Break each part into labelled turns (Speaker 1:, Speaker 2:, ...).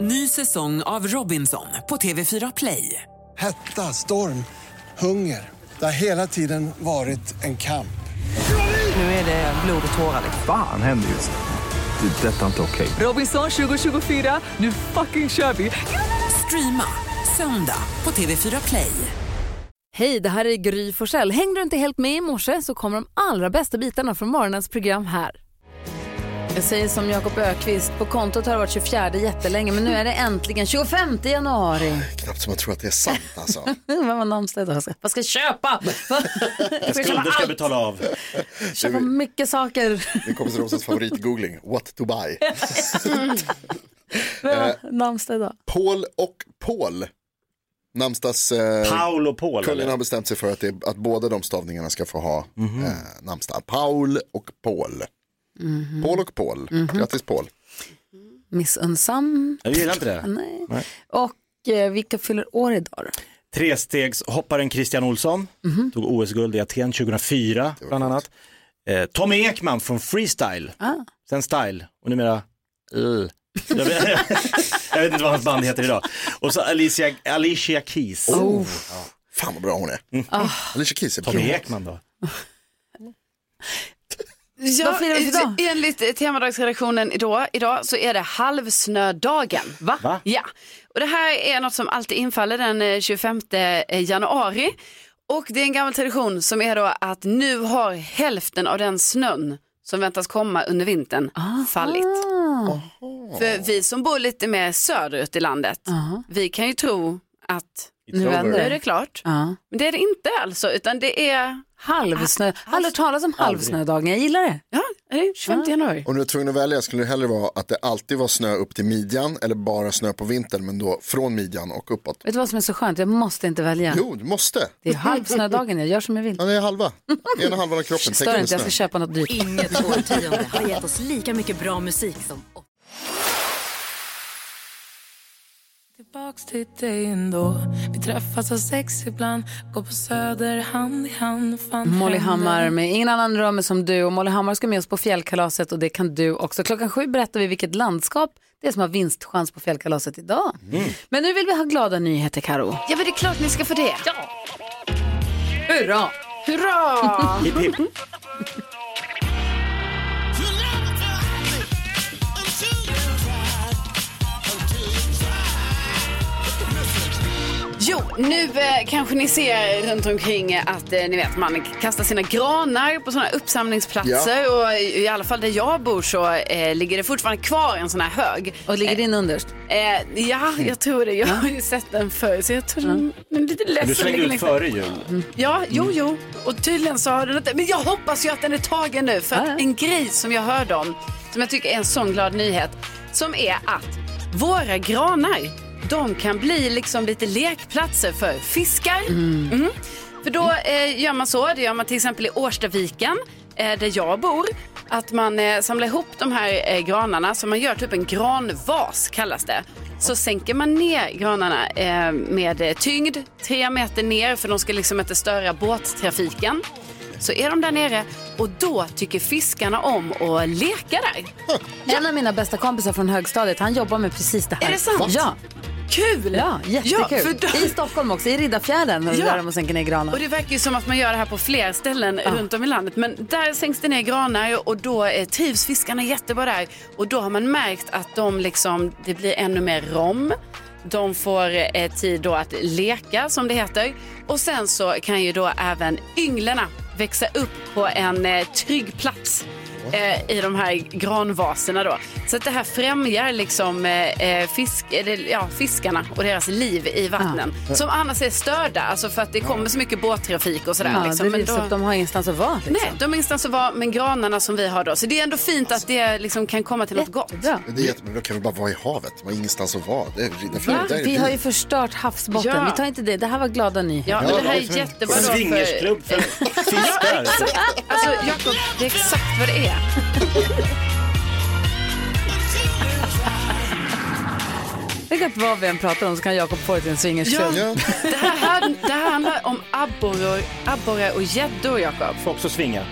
Speaker 1: Ny säsong av Robinson på TV4 Play.
Speaker 2: Hetta, storm, hunger. Det har hela tiden varit en kamp.
Speaker 1: Nu är det blod och tårar.
Speaker 3: Fan händer just nu. Det. är Detta är inte okej.
Speaker 1: Robinson 2024, nu fucking kör vi! Streama söndag på TV4 Play.
Speaker 4: Hej, det här är Gry Forssell. Hängde du inte helt med i morse så kommer de allra bästa bitarna från morgonens program här. Jag säger som Jakob Ökvist, på kontot har det varit 24 jättelänge men nu är det äntligen 25 januari.
Speaker 2: Knappt som man tror att det är sant alltså.
Speaker 4: Vem var namnsdag idag? Jag ska- Vad ska jag köpa? Vad- Jag ska köpa
Speaker 5: Skulder ska
Speaker 4: allt,
Speaker 5: betala av.
Speaker 4: köpa mycket saker.
Speaker 2: Det kommer till Rosas favoritgoogling, what to buy.
Speaker 4: Vem har namnsdag idag?
Speaker 2: Paul och Paul. Namnsdags... Eh,
Speaker 5: Paul och Paul.
Speaker 2: Kullen
Speaker 5: eller?
Speaker 2: har bestämt sig för att, det, att båda de stavningarna ska få ha eh, namnsdag. Paul och Paul.
Speaker 4: Mhm.
Speaker 2: Paul och Paul. Grattis Paul.
Speaker 4: Missunnsam?
Speaker 5: Jag gillar inte det.
Speaker 4: Nej. Och eh, vilka fyller år idag då?
Speaker 5: Trestegshopparen Christian Olsson
Speaker 4: Mhm.
Speaker 5: tog OS-guld i Aten 2004 bland annat. Eh, Tommy Ekman från Freestyle,
Speaker 4: Ah.
Speaker 5: sen Style och numera L. Jag vet, jag vet inte vad hans band heter idag. Och så Alicia, Alicia Keys.
Speaker 4: Oh,
Speaker 2: Fan vad bra hon är.
Speaker 4: Ah.
Speaker 2: Mm. Alicia Keys är
Speaker 5: Tommy
Speaker 2: bra.
Speaker 5: Ekman då.
Speaker 4: Ja, Vad firar vi för dag?
Speaker 6: eh, Enligt temadagsredaktionen idag, idag så är det halvsnödagen.
Speaker 5: Va?
Speaker 6: Ja, och det här är något som alltid infaller den eh, 25 januari. Och det är en gammal tradition som är då att nu har hälften av den snön som väntas komma under vintern fallit. För vi som bor lite mer söderut i landet, vi kan ju tro att
Speaker 5: Nu
Speaker 6: nu är det klart.
Speaker 4: Ja.
Speaker 6: Men det är det inte alltså, utan det är,
Speaker 4: Halvsnö. Aldrig hört talas om halvsnödagen, jag gillar det.
Speaker 6: ja, är det 25 januari.
Speaker 7: Om du är tvungen att välja skulle det hellre vara att det alltid var snö upp till midjan eller bara snö på vintern men då från midjan och uppåt.
Speaker 4: Vet du vad som är så skönt? Jag måste inte välja.
Speaker 7: Jo, du måste.
Speaker 4: Det är halvsnödagen, jag gör som jag vill.
Speaker 7: Ja, det är halva. Ena halvan av kroppen täckt
Speaker 4: Stör
Speaker 7: med
Speaker 4: inte, jag ska
Speaker 7: snö.
Speaker 4: köpa något dyrt.
Speaker 8: Inget årtionde har gett oss lika mycket bra musik som
Speaker 9: Tillbaks till dig ändå Vi träffas av sex ibland Går på söder hand i hand fan
Speaker 4: Molly
Speaker 9: händer.
Speaker 4: Hammar med Ingen annan rör mig som du. Och Molly Hammar ska med oss på fjällkalaset och det kan du också. Klockan sju berättar vi vilket landskap det är som har vinstchans på fjällkalaset idag. Men nu vill vi ha glada nyheter, Karo.
Speaker 6: Ja men det är klart ni ska få det.
Speaker 4: Hurra!
Speaker 6: Hurra!
Speaker 5: Hipp, hipp.
Speaker 4: Mm-hmm.
Speaker 6: Jo, nu eh, kanske ni ser runt omkring eh, att eh, ni vet man kastar sina granar på sådana uppsamlingsplatser och i, i alla fall där jag bor så eh, ligger det fortfarande kvar en sån här hög.
Speaker 4: Och ligger din underst?
Speaker 6: Eh, ja, jag tror det. Jag har ju sett den förr så jag tror den, den är lite liksom. ledsen.
Speaker 5: Du slängde
Speaker 6: ligger
Speaker 5: ut
Speaker 6: längst-
Speaker 5: före jul.
Speaker 4: Mm-hmm.
Speaker 6: Ja,
Speaker 4: Mm.
Speaker 6: jo, jo. Och tydligen så har den inte... Men jag hoppas ju att den är tagen nu. För att
Speaker 4: Ja, ja.
Speaker 6: en grej som jag hörde om, som jag tycker är en sån glad nyhet, som är att våra granar, de kan bli liksom lite lekplatser för fiskar. Mm. För då eh, gör man så, det gör man till exempel i Årstaviken, eh, där jag bor, att man eh, samlar ihop de här eh, granarna, så man gör typ en granvas kallas det. Så sänker man ner granarna eh, med eh, tyngd, tre meter ner, för de ska liksom inte störa båttrafiken. Så är de där nere och då tycker fiskarna om att leka där.
Speaker 4: En av mina bästa kompisar från högstadiet, han jobbar med precis det här.
Speaker 6: Är det sant?
Speaker 4: Ja,
Speaker 6: Kul!
Speaker 4: ja jättekul.
Speaker 6: Ja, för då-
Speaker 4: I Stockholm också, i Riddarfjärden,
Speaker 6: Ja.
Speaker 4: där de sänker ner granar.
Speaker 6: Och det verkar ju som att man gör det här på fler ställen runt om i landet. Men där sänks det ner granar och då eh, trivs fiskarna jättebra där. Och då har man märkt att de liksom, det blir ännu mer rom. De får eh, tid då att leka som det heter. Och sen så kan ju då även ynglarna växa upp på en eh, trygg plats eh, i de här granvaserna då. Så att det här främjar liksom eh, eh, fisk, eller, ja, fiskarna och deras liv i vattnen. Som annars är störda, alltså för att det kommer så mycket båttrafik och sådär.
Speaker 4: Ja,
Speaker 6: liksom.
Speaker 4: det
Speaker 6: Men
Speaker 4: rivs
Speaker 6: då-
Speaker 4: upp, de har ingenstans att vara. Liksom.
Speaker 6: Nej, de är ingenstans att vara, men granarna som vi har då. Så det är ändå fint att det liksom kan komma till något gott.
Speaker 4: Jättebra.
Speaker 7: Det är jättebra, då kan vi bara vara i havet. Man har ingenstans att vara. Det är
Speaker 4: Ja,
Speaker 7: Riddarfjärden. Där är
Speaker 4: vi
Speaker 7: vi.
Speaker 4: har ju förört havsbotten.
Speaker 6: Ja.
Speaker 4: Vi tar inte det. Det här var glada nyheter.
Speaker 6: Ja, men det här
Speaker 7: det
Speaker 6: är
Speaker 7: är
Speaker 6: jättebra då för...
Speaker 5: Swingersklubb för fiskar.
Speaker 6: Alltså Jakob, det är exakt vad det är.
Speaker 4: Tänk att vad vi än pratar om så kan Jakob få det till en swingersklubb.
Speaker 7: Ja.
Speaker 6: Det här, här, det här handlar om abborre abborre och gäddor, Jakob.
Speaker 5: Får också svinga.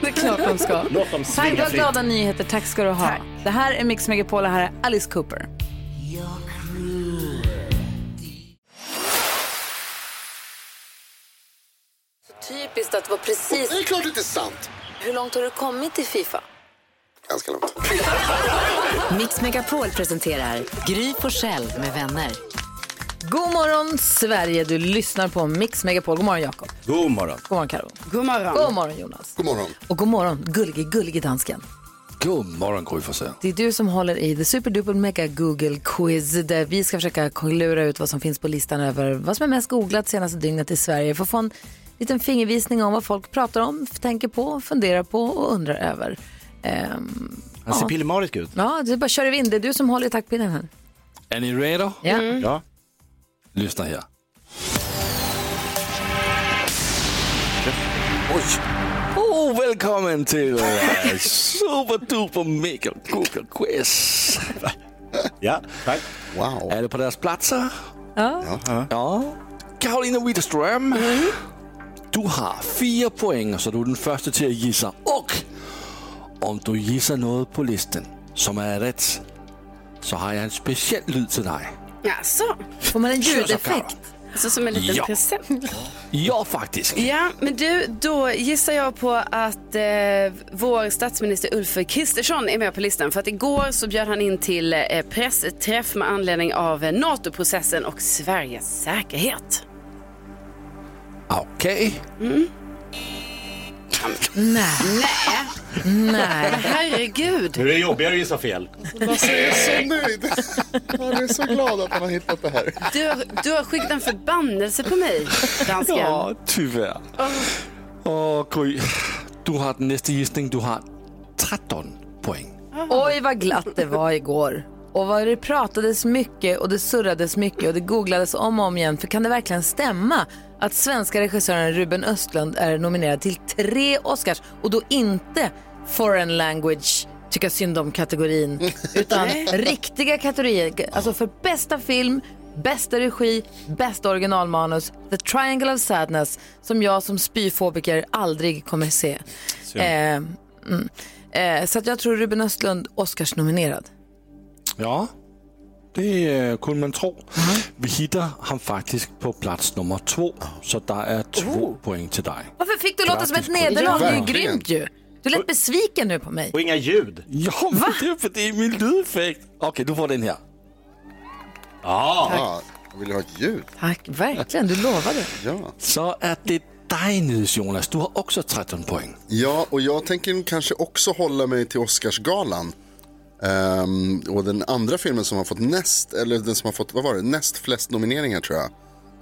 Speaker 4: Det är klart de ska.
Speaker 5: Låt dem
Speaker 4: Tack,
Speaker 5: svinga
Speaker 4: vad
Speaker 5: fritt.
Speaker 4: glada nyheter. Tack ska du ha. Det här är Mix Megapol och här är Alice Cooper. Typiskt att vara precis...
Speaker 7: Det är klart det inte är sant.
Speaker 4: Hur långt har du kommit i Fifa?
Speaker 7: Ganska långt.
Speaker 10: Mix Megapol presenterar Gry på själv med vänner.
Speaker 4: God morgon Sverige, du lyssnar på Mix Megapol. God morgon Jakob.
Speaker 5: God morgon.
Speaker 4: God morgon Karo.
Speaker 6: God morgon.
Speaker 4: God morgon Jonas.
Speaker 7: God morgon.
Speaker 4: Och god morgon gullige, gullige dansken.
Speaker 11: God morgon Gry Forssell.
Speaker 4: Det är du som håller i the super duper mega Google quiz där vi ska försöka klura ut vad som finns på listan över vad som är mest googlat senaste dygnet i Sverige. För att få en liten fingervisning om vad folk pratar om, tänker på, funderar på och undrar över. Ehm,
Speaker 5: Han ser pillmarig ut.
Speaker 4: ja, du bara kör in. Det är du som håller i taktpinnen här.
Speaker 11: Är ni redo?
Speaker 4: Ja.
Speaker 5: Ja.
Speaker 11: Lyssna här. Oj. Oh, välkommen till eh, Super Duper Mega Google Quiz.
Speaker 5: Ja, tack.
Speaker 7: Wow.
Speaker 11: Är du på deras platser?
Speaker 4: Ja.
Speaker 11: Ja. Karolina Widerström. Du har fyra poäng, så du är den första till att gissa. Och om du gissar något på listan som är rätt så har jag en speciell ljud till dig.
Speaker 6: Jaså?
Speaker 4: Får man en
Speaker 11: Karo.
Speaker 4: ljudeffekt?
Speaker 6: Alltså som en liten
Speaker 11: Ja.
Speaker 6: present.
Speaker 11: Ja, faktiskt.
Speaker 6: Ja, men du, då gissar jag på att eh, vår statsminister Ulf Kristersson är med på listan. För att igår så bjöd han in till eh, pressträff med anledning av eh, NATO-processen och Sveriges säkerhet.
Speaker 11: Okej.
Speaker 4: Nej. Nej.
Speaker 6: Herregud!
Speaker 5: Nu är det jobbigare att gissa fel.
Speaker 7: Lasse är så nöjd. Han är så glad att han har hittat det här.
Speaker 6: Du, har- du har skickat en förbannelse på mig, dansken.
Speaker 11: Ja, tyvärr. Åh, oh. Gry. Du har den nästa gissning. Du har 13 poäng.
Speaker 4: Oj vad glatt det var igår. Och vad det pratades mycket och det surrades mycket och det googlades om och om igen. För kan det verkligen stämma att svenska regissören Ruben Östlund är nominerad till tre Oscars och då inte foreign language tycka synd om kategorin utan riktiga kategorier. Alltså för bästa film, bästa regi, bästa originalmanus, The Triangle of Sadness som jag som spyfobiker aldrig kommer se. Eh, mm. eh, så att jag tror Ruben Östlund Oscars-nominerad.
Speaker 11: Ja, det eh, kunde man tro. Vi hittar han faktiskt på plats nummer två. Så där är två poäng till dig.
Speaker 4: Varför fick du låta som ett
Speaker 11: Grattis,
Speaker 4: nederlag? Det är ju
Speaker 7: Verkligen.
Speaker 4: grymt ju. Du lät besviken nu på mig.
Speaker 5: Och inga ljud.
Speaker 11: Ja, men det är för det är min ljudeffekt. Okej, du får den här.
Speaker 7: Ja, jag vill ha ett ljud.
Speaker 4: Tack, verkligen. Du lovade.
Speaker 7: Ja.
Speaker 11: Så är det dig nu, Jonas. Du har också 13 poäng.
Speaker 7: ja, och jag tänker kanske också hålla mig till Oscarsgalan. Ehm, och den andra filmen som har fått näst, eller den som har fått, vad var det, näst flest nomineringar tror jag.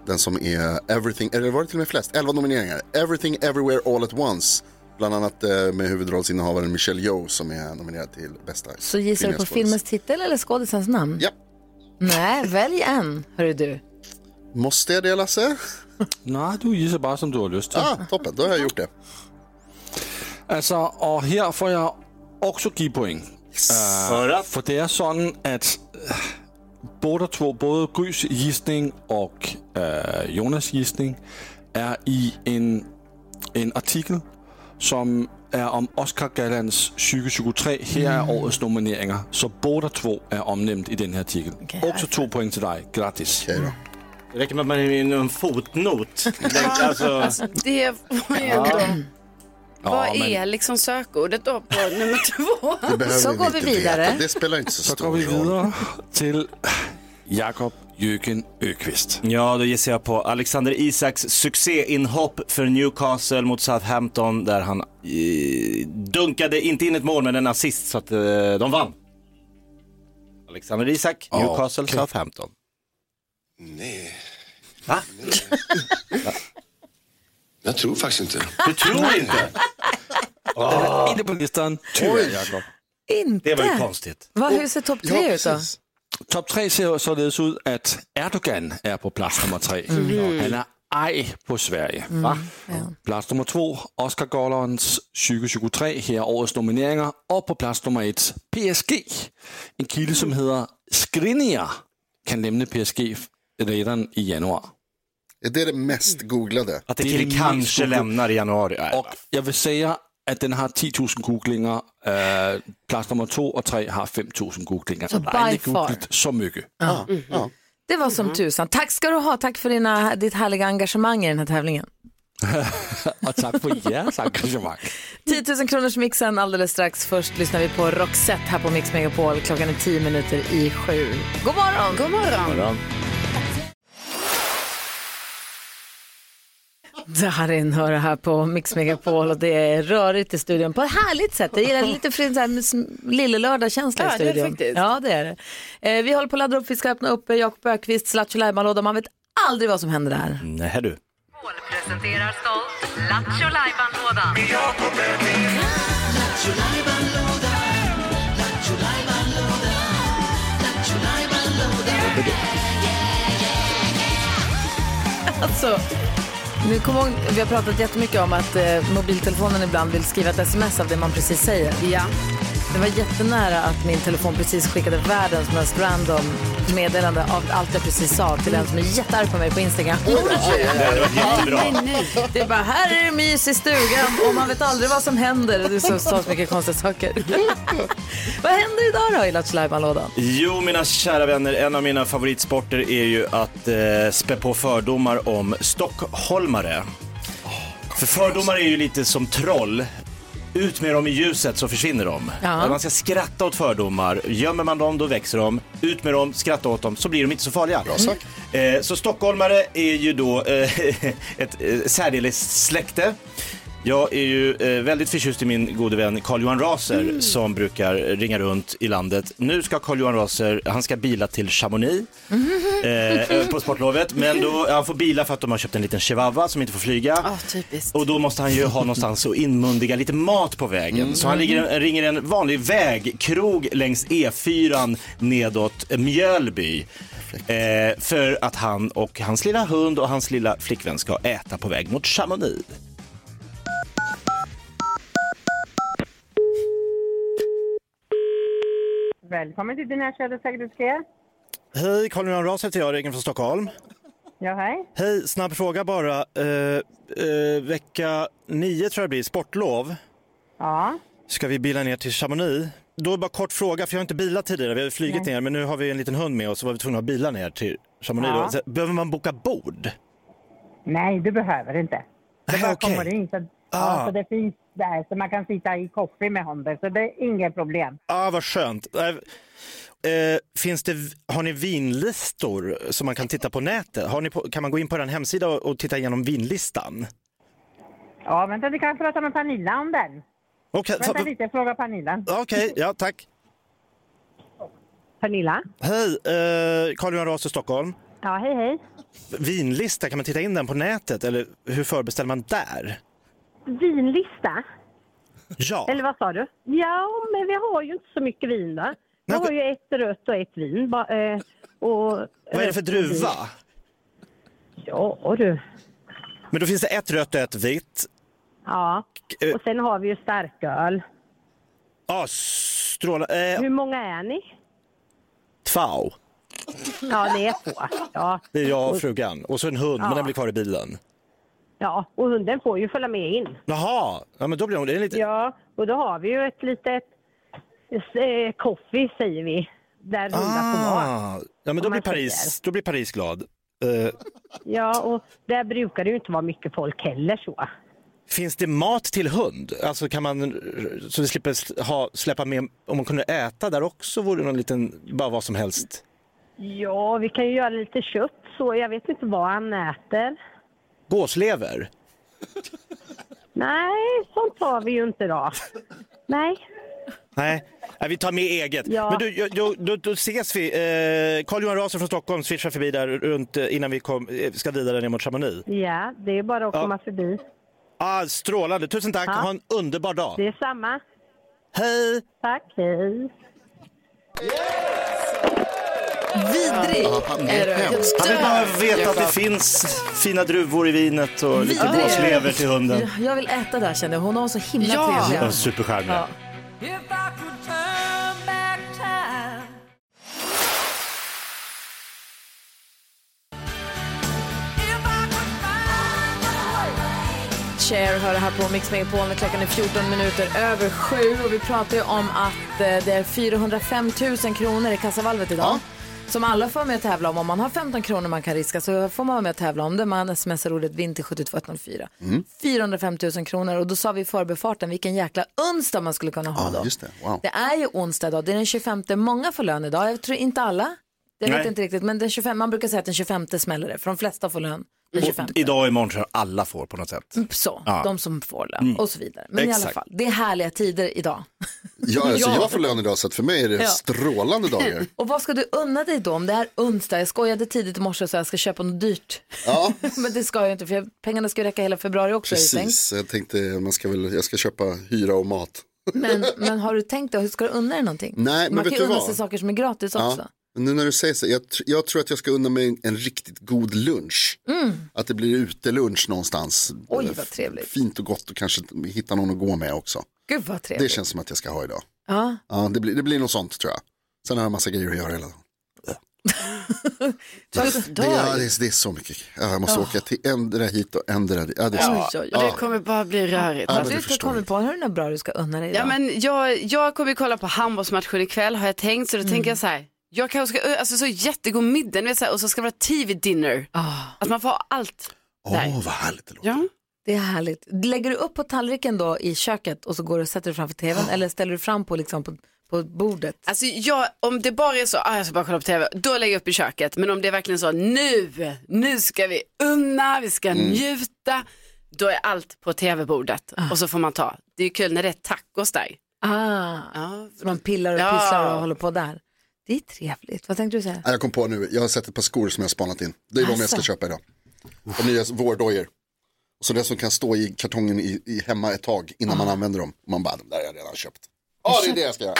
Speaker 7: Den som är Everything, eller var det till och med flest? 11 nomineringar. Everything Everywhere All At Once. Bland annat eh, med huvudrollsinnehavaren Michelle Yeoh som är nominerad till bästa
Speaker 4: Så gissar du
Speaker 7: kvinnliga
Speaker 4: på
Speaker 7: skådis.
Speaker 4: filmens titel eller skådisens namn?
Speaker 7: Ja.
Speaker 4: Nej, välj en, hörru du.
Speaker 7: Måste jag det Lasse?
Speaker 11: Nej, du gissar bara som du har lust till.
Speaker 7: Ah, toppen, då har jag gjort det.
Speaker 11: Altså, og her får jeg også give point.
Speaker 5: Hold op.
Speaker 11: For det er sådan, at øh, både, to, både Grys gisning og øh, Jonas gisning er i en, en artikel, som er om Oscar Gallands 2023. Her er årets nomineringer, så både to er omnævnt i den her artikel. Også to point til dig. Gratis.
Speaker 7: Okej då.
Speaker 5: Det räcker med att man är in en fotnot. Det- Alltså,
Speaker 6: Det var ju ändå... Vad
Speaker 11: men-
Speaker 6: är liksom sökordet då på nummer två?
Speaker 7: Det behöver
Speaker 4: Så går
Speaker 7: inte
Speaker 4: vi vidare.
Speaker 7: Veta. Det spelar inte så,
Speaker 11: Så går
Speaker 7: stor
Speaker 11: vi
Speaker 7: roll.
Speaker 11: videre til Jakob Jøgen Økvist.
Speaker 5: ja, då gissar jag på Alexander Isaks succéinhopp för Newcastle mot Southampton där han eh, dunkade, inte in ett mål, men en assist så att eh, de vann. Alexander Isak, Newcastle,
Speaker 11: Okej.
Speaker 5: Southampton. Nej. Va?
Speaker 12: Jag tror faktiskt inte.
Speaker 5: Du tror inte?
Speaker 11: Inde på listen. Tyvärr, Jakob.
Speaker 4: Inte?
Speaker 5: Det var ju konstigt.
Speaker 4: Vad, hur ser topp tre ut då?
Speaker 7: precis.
Speaker 11: Top 3 ser jo således ud, at Erdogan er på plads nummer 3. Han er ej på Sverige. Hva? Plads nummer 2, Oscar Gollerens 2023, her er årets nomineringer. Og på plads nummer 1, PSG. En kilde, som hedder Skriniar, kan nemlig PSG redderen i januar.
Speaker 7: Är det det mest googlade?
Speaker 5: Att en
Speaker 11: Det är
Speaker 5: kille
Speaker 11: min
Speaker 5: kanske
Speaker 11: skola.
Speaker 5: lämnar i januari. Nej,
Speaker 11: Och jag vill säga at den har 10.000 googlinger. Øh, plads nummer 2 og 3 har 5.000 googlinger.
Speaker 4: Så
Speaker 11: Der er
Speaker 4: by
Speaker 11: ikke
Speaker 4: far.
Speaker 11: googlet så mycket.
Speaker 4: Det var
Speaker 5: Mm.
Speaker 4: som tusan. Tack ska du ha. Tack för dina, ditt härliga engagemang i den här tävlingen.
Speaker 11: Og tak for jeres engagement.
Speaker 4: 10 000 kronors mixen alldeles strax. Först lyssnar vi på Roxette här på Mix Megapol. Klockan är 10 minuter i sju. God morgon!
Speaker 6: God morgon.
Speaker 4: Darin hör det här på Mix Megapol och det är rörigt i studion på ett härligt sätt. Jag gillar lite fri- så här sm- lillelördag-känsla i
Speaker 6: Ja, det är det
Speaker 4: studion.
Speaker 6: faktiskt.
Speaker 4: Ja, det är det. Eh, vi håller på att ladda upp, vi ska öppna upp eh, Jakob Ökvist, Slatcho Lajban-låda. Man vet aldrig vad som händer där.
Speaker 6: Mm.
Speaker 5: Nej du.
Speaker 13: Presenterar stolt Lattjo Lajban-lådan.
Speaker 4: Alltså, nu kommer jag ihåg, vi har pratat jättemycket om att eh, mobiltelefonen ibland vill skriva ett sms av det man precis säger.
Speaker 6: Ja.
Speaker 4: Det var jättenära att min telefon precis skickade världens mest random meddelande av allt jag precis sa till den som är jättearg på mig på Instagram.
Speaker 5: Jättebra.
Speaker 4: Det är bara, här är det mys i stugan och man vet aldrig vad som händer. Det är så, så mycket konstiga saker. vad händer idag då i Lattjo Lajban-lådan?
Speaker 5: Jo, mina kära vänner, en av mina favoritsporter är ju att eh, spä på fördomar om stockholmare. För fördomar är ju lite som troll. Ut med dem i ljuset så försvinner de.
Speaker 4: Ja.
Speaker 5: Man ska skratta åt fördomar. Gömmer man dem, då växer de. Ut med dem, skratta åt dem, så blir de inte så farliga. Bra
Speaker 7: sagt.
Speaker 5: Eh, så stockholmare är ju då eh, ett eh, särdeles släkte. Jag är ju eh, väldigt förtjust i min gode vän Carl-Johan Raser som brukar ringa runt i landet. Nu ska Carl-Johan Raser, han ska bila till Chamonix eh, på sportlovet, men då, han får bila för att de har köpt en liten chihuahua som inte får flyga.
Speaker 6: Ja, typiskt.
Speaker 5: Och då måste han ju ha någonstans att inmundiga lite mat på vägen. Så han ligger, ringer en vanlig vägkrog längs E4 nedåt Mjölby. Eh, för att han och hans lilla hund och hans lilla flickvän ska äta på väg mot Chamonix.
Speaker 14: Välkommen till Dina Kläder Säkerhetsgrejer.
Speaker 5: Hej, Carl Johan Ras heter jag, ringer från Stockholm.
Speaker 14: Ja, hej.
Speaker 5: Hej, snabb fråga bara. Eh, vecka nio tror jag det blir, sportlov.
Speaker 14: Ja,
Speaker 5: ska vi bila ner till Chamonix. Då är bara kort fråga, för jag har inte bilat tidigare, vi har ju flugit ner, men nu har vi en liten hund med oss så var vi tvungna att bila ner till Chamonix.
Speaker 14: Ja.
Speaker 5: Då. Så, behöver man boka bord?
Speaker 14: nej, du behöver inte. Det bara
Speaker 5: Ah, okej.
Speaker 14: kommer in. Så,
Speaker 5: Ah.
Speaker 14: ja, så det finns där, så man kan sitta i kaffe med hunden, så det är inget problem.
Speaker 5: Ah, vad skönt. Eh, eh, finns det, har ni vinlistor som man kan titta på nätet? Har ni på, kan man gå in på den hemsida och, och titta igenom vinlistan?
Speaker 14: Ja, vänta, du kan prata med Pernilla om den.
Speaker 5: Okej,
Speaker 14: Vänta
Speaker 5: okay,
Speaker 14: lite, fråga Pernilla.
Speaker 5: ja tack.
Speaker 14: Pernilla?
Speaker 5: Hej, eh, Carl-Johan Ras i Stockholm.
Speaker 14: Ja, hej, hej.
Speaker 5: Vinlista, kan man titta in den på nätet eller hur förbeställer man där?
Speaker 14: Vinlista?
Speaker 5: Ja.
Speaker 14: Eller vad sa du? Ja, men vi har ju inte så mycket vin då. Vi
Speaker 5: Nej,
Speaker 14: har ju ett rött och ett vin. Ba, eh, och
Speaker 5: Vad är det för druva?
Speaker 14: Ja, du.
Speaker 5: Men då finns det ett rött och ett vitt.
Speaker 14: Ja,
Speaker 5: Eh,
Speaker 14: och sen har vi ju starköl.
Speaker 5: Ja, stråla... Eh,
Speaker 14: Hur många är ni?
Speaker 5: två.
Speaker 14: Ja, det är två. Ja,
Speaker 5: Det är jag och frugan. Och så en hund, men den blir kvar i bilen.
Speaker 14: ja, och hunden får ju följa med in.
Speaker 5: Jaha, ja, men då blir hon... Det är lite...
Speaker 14: Ja, och då har vi ju ett litet eh, koffi säger vi, där hundar får vara.
Speaker 5: ah, ja, men då
Speaker 14: Om
Speaker 5: blir,
Speaker 14: man
Speaker 5: Paris,
Speaker 14: säger.
Speaker 5: då blir Paris glad. Eh,
Speaker 14: Ja, och där brukar det ju inte vara mycket folk heller så.
Speaker 5: finns det mat till hund? Alltså kan man... Så vi slipper sl- ha, släppa med... Om man kunde äta där också vore det någon liten... Bara vad som helst.
Speaker 14: Ja, vi kan ju göra lite kött så. Jag vet inte vad han äter.
Speaker 5: Gåslever?
Speaker 14: Nej, sånt har vi ju inte då. Nej.
Speaker 5: Nej. Nej, vi tar med eget.
Speaker 14: Ja.
Speaker 5: Men du, jag- då, då, då ses vi. Eh, Carl-Johan Raser från Stockholm swishar förbi där runt eh, innan vi kom, eh, ska vidare ner mot Chamonix.
Speaker 14: Ja, det är bara att
Speaker 5: Ja.
Speaker 14: komma förbi.
Speaker 5: Ah, strålande. Tusen tack. Ha en underbar dag.
Speaker 14: Det är samma.
Speaker 5: Hej!
Speaker 14: Tack, hej.
Speaker 4: Vidrig!
Speaker 7: Han är hemsk.
Speaker 5: Han vill bara veta att det finns fina druvor i vinet och lite
Speaker 4: Vidrig.
Speaker 5: gåslever till hunden.
Speaker 4: Jag vill äta där kände jag. Hon har så himla
Speaker 6: Ja.
Speaker 4: trevliga.
Speaker 5: Ja, Supercharmig.
Speaker 4: Ja. Cher hör det här på Mix Megapol när klockan är 14 minuter över sju. Och vi pratar ju om att eh, det är 405 000 kronor i kassavalvet idag. Som alla får vara med och tävla om. Om man har 15 kronor man kan riska så får man vara med och tävla om det. Man smsar ordet vinn till 72104.
Speaker 7: Mm.
Speaker 4: 405 000 kronor och då sa vi i förbifarten vilken jäkla onsdag man skulle kunna ha
Speaker 7: Ja,
Speaker 4: då.
Speaker 7: just det. Wow.
Speaker 4: Det är ju onsdag idag, det är den 25. Många får lön idag, jag tror inte alla. Jag vet
Speaker 5: Nej.
Speaker 4: inte riktigt, men den 25, man brukar säga att den 25 smäller det, för de flesta får lön den 25.
Speaker 5: Och idag och imorgon tror jag alla får på något sätt.
Speaker 4: Så,
Speaker 5: Ja.
Speaker 4: de som får lön
Speaker 5: Mm.
Speaker 4: och så vidare. Men i alla
Speaker 5: Exakt.
Speaker 4: fall, det är härliga tider idag.
Speaker 7: Ja, alltså,
Speaker 4: Ja.
Speaker 7: jag får lön idag så att för mig är det
Speaker 4: Ja.
Speaker 7: strålande dagar.
Speaker 4: Och vad ska du unna dig då om det är onsdag? Jag skojade tidigt i morse så jag ska köpa något dyrt.
Speaker 7: Ja.
Speaker 4: men det ska jag ju inte för jag- pengarna ska ju räcka hela februari också. har jag ju tänkt.
Speaker 7: Precis, jag tänkte man ska väl, jag ska köpa hyra och mat.
Speaker 4: Men, men har du tänkt det? Hur ska du unna dig någonting?
Speaker 7: Nej, men
Speaker 4: Man
Speaker 7: vet
Speaker 4: kan ju
Speaker 7: du
Speaker 4: unna
Speaker 7: vad?
Speaker 4: sig saker som är gratis också.
Speaker 7: men Nu när du säger så, jag, tr- jag tror att jag ska unna mig en, en riktigt god lunch.
Speaker 4: Mm.
Speaker 7: Att det blir utelunch någonstans.
Speaker 4: Oj, vad trevligt.
Speaker 7: Fint och gott och kanske hitta någon att gå med också.
Speaker 4: Gud vad trevligt.
Speaker 7: Det känns som att jag ska ha idag.
Speaker 4: Ja.
Speaker 7: Ja, det, blir, det blir något sånt tror jag. Sen har jag massa grejer att göra hela dagen.
Speaker 6: Varför
Speaker 7: Det, ja, det, är, det är så mycket. Ja, jag
Speaker 4: Ah.
Speaker 7: måste
Speaker 6: Ja.
Speaker 7: åka till ändra hit och ändra dit. Ja, det är så.
Speaker 6: Ja,
Speaker 7: Ja.
Speaker 6: Det kommer bara bli rörigt.
Speaker 7: Ja, men
Speaker 4: Du
Speaker 7: det
Speaker 4: har
Speaker 7: förstår
Speaker 4: kommit på, har du något bra du ska unna dig idag?
Speaker 6: Ja, men jag, jag kommer ju kolla på handbollsmatchen ikväll har jag tänkt. Så då tänker jag så här. Jag kanske ska, alltså så jättegod middag ni vet, så här, och så ska det vara tv-dinner. Att man får ha allt.
Speaker 7: Åh, vad härligt det låter.
Speaker 6: Ah. Ja.
Speaker 4: Det är härligt. Lägger du upp på tallriken då i köket och så går du och sätter dig framför tvn eller ställer du fram på, liksom, på, på bordet?
Speaker 6: Alltså jag, om det bara är så, ah, jag ska bara kolla på tv, då lägger jag upp i köket. Men om det är verkligen så, nu, nu ska vi unna, vi ska njuta, då är allt på tv-bordet. Och så får man ta. Det är ju kul när det är tacos där.
Speaker 4: Ah, så man pillar och
Speaker 6: Ja.
Speaker 4: pysslar och håller på där. Det är trevligt. Vad tänkte du säga?
Speaker 7: Ja, Jag kom på nu, jag har sett ett par skor som jag har spanat in. Det är de jag ska
Speaker 4: Alltså.
Speaker 7: köpa idag. Och nya vårdojor. Så det som kan stå i kartongen i, i hemma ett tag innan
Speaker 4: Ah.
Speaker 7: man använder dem. Och man bara, de där har jag redan köpt. Ja, det är det jag ska göra.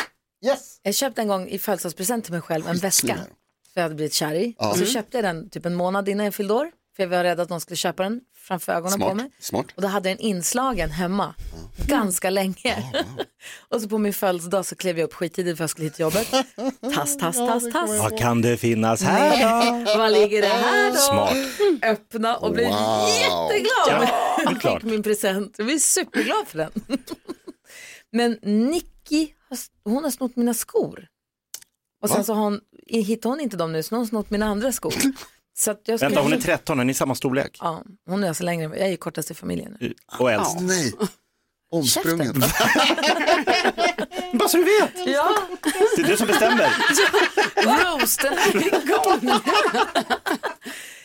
Speaker 7: Yes!
Speaker 4: Jag köpte en gång i födelsedagspresent till mig själv en väska.
Speaker 7: Skitsnygg.
Speaker 4: För jag hade blivit kär i.
Speaker 7: Ja.
Speaker 4: Och så
Speaker 7: Mm.
Speaker 4: köpte jag den typ en månad innan jag fyllde år. För jag var rädd att någon skulle köpa den framför ögonen på
Speaker 7: Smart,
Speaker 4: mig.
Speaker 7: smart.
Speaker 4: Och då hade jag den inslagen hemma ganska länge. och så på min födelsedag så klev jag upp skittidigt för jag skulle hit till jobbet. Tass, tass, tass, tass.
Speaker 5: Vad kan det finnas här då?
Speaker 4: Vad ligger det här då?
Speaker 5: Smart.
Speaker 4: Öppna och bli
Speaker 7: Wow.
Speaker 4: jätteglad.
Speaker 5: det är
Speaker 4: Jag
Speaker 5: klart.
Speaker 4: fick min present. Jag blir superglad för den. Men Nicky, har, hon har snott mina skor. Och sen
Speaker 7: Va?
Speaker 4: så har hon, hittar hon inte dem nu, så nu har hon snott mina andra skor. Så att jag skulle-
Speaker 5: Vänta, hon är 13, är ni samma storlek?
Speaker 4: Ja, hon är alltså längre än mig. Jag är ju kortast i familjen nu.
Speaker 5: Och äldst?
Speaker 7: Nej, omsprungen.
Speaker 5: Bara så du vet,
Speaker 4: Ja,
Speaker 5: det är du som bestämmer.
Speaker 4: roasten är igång.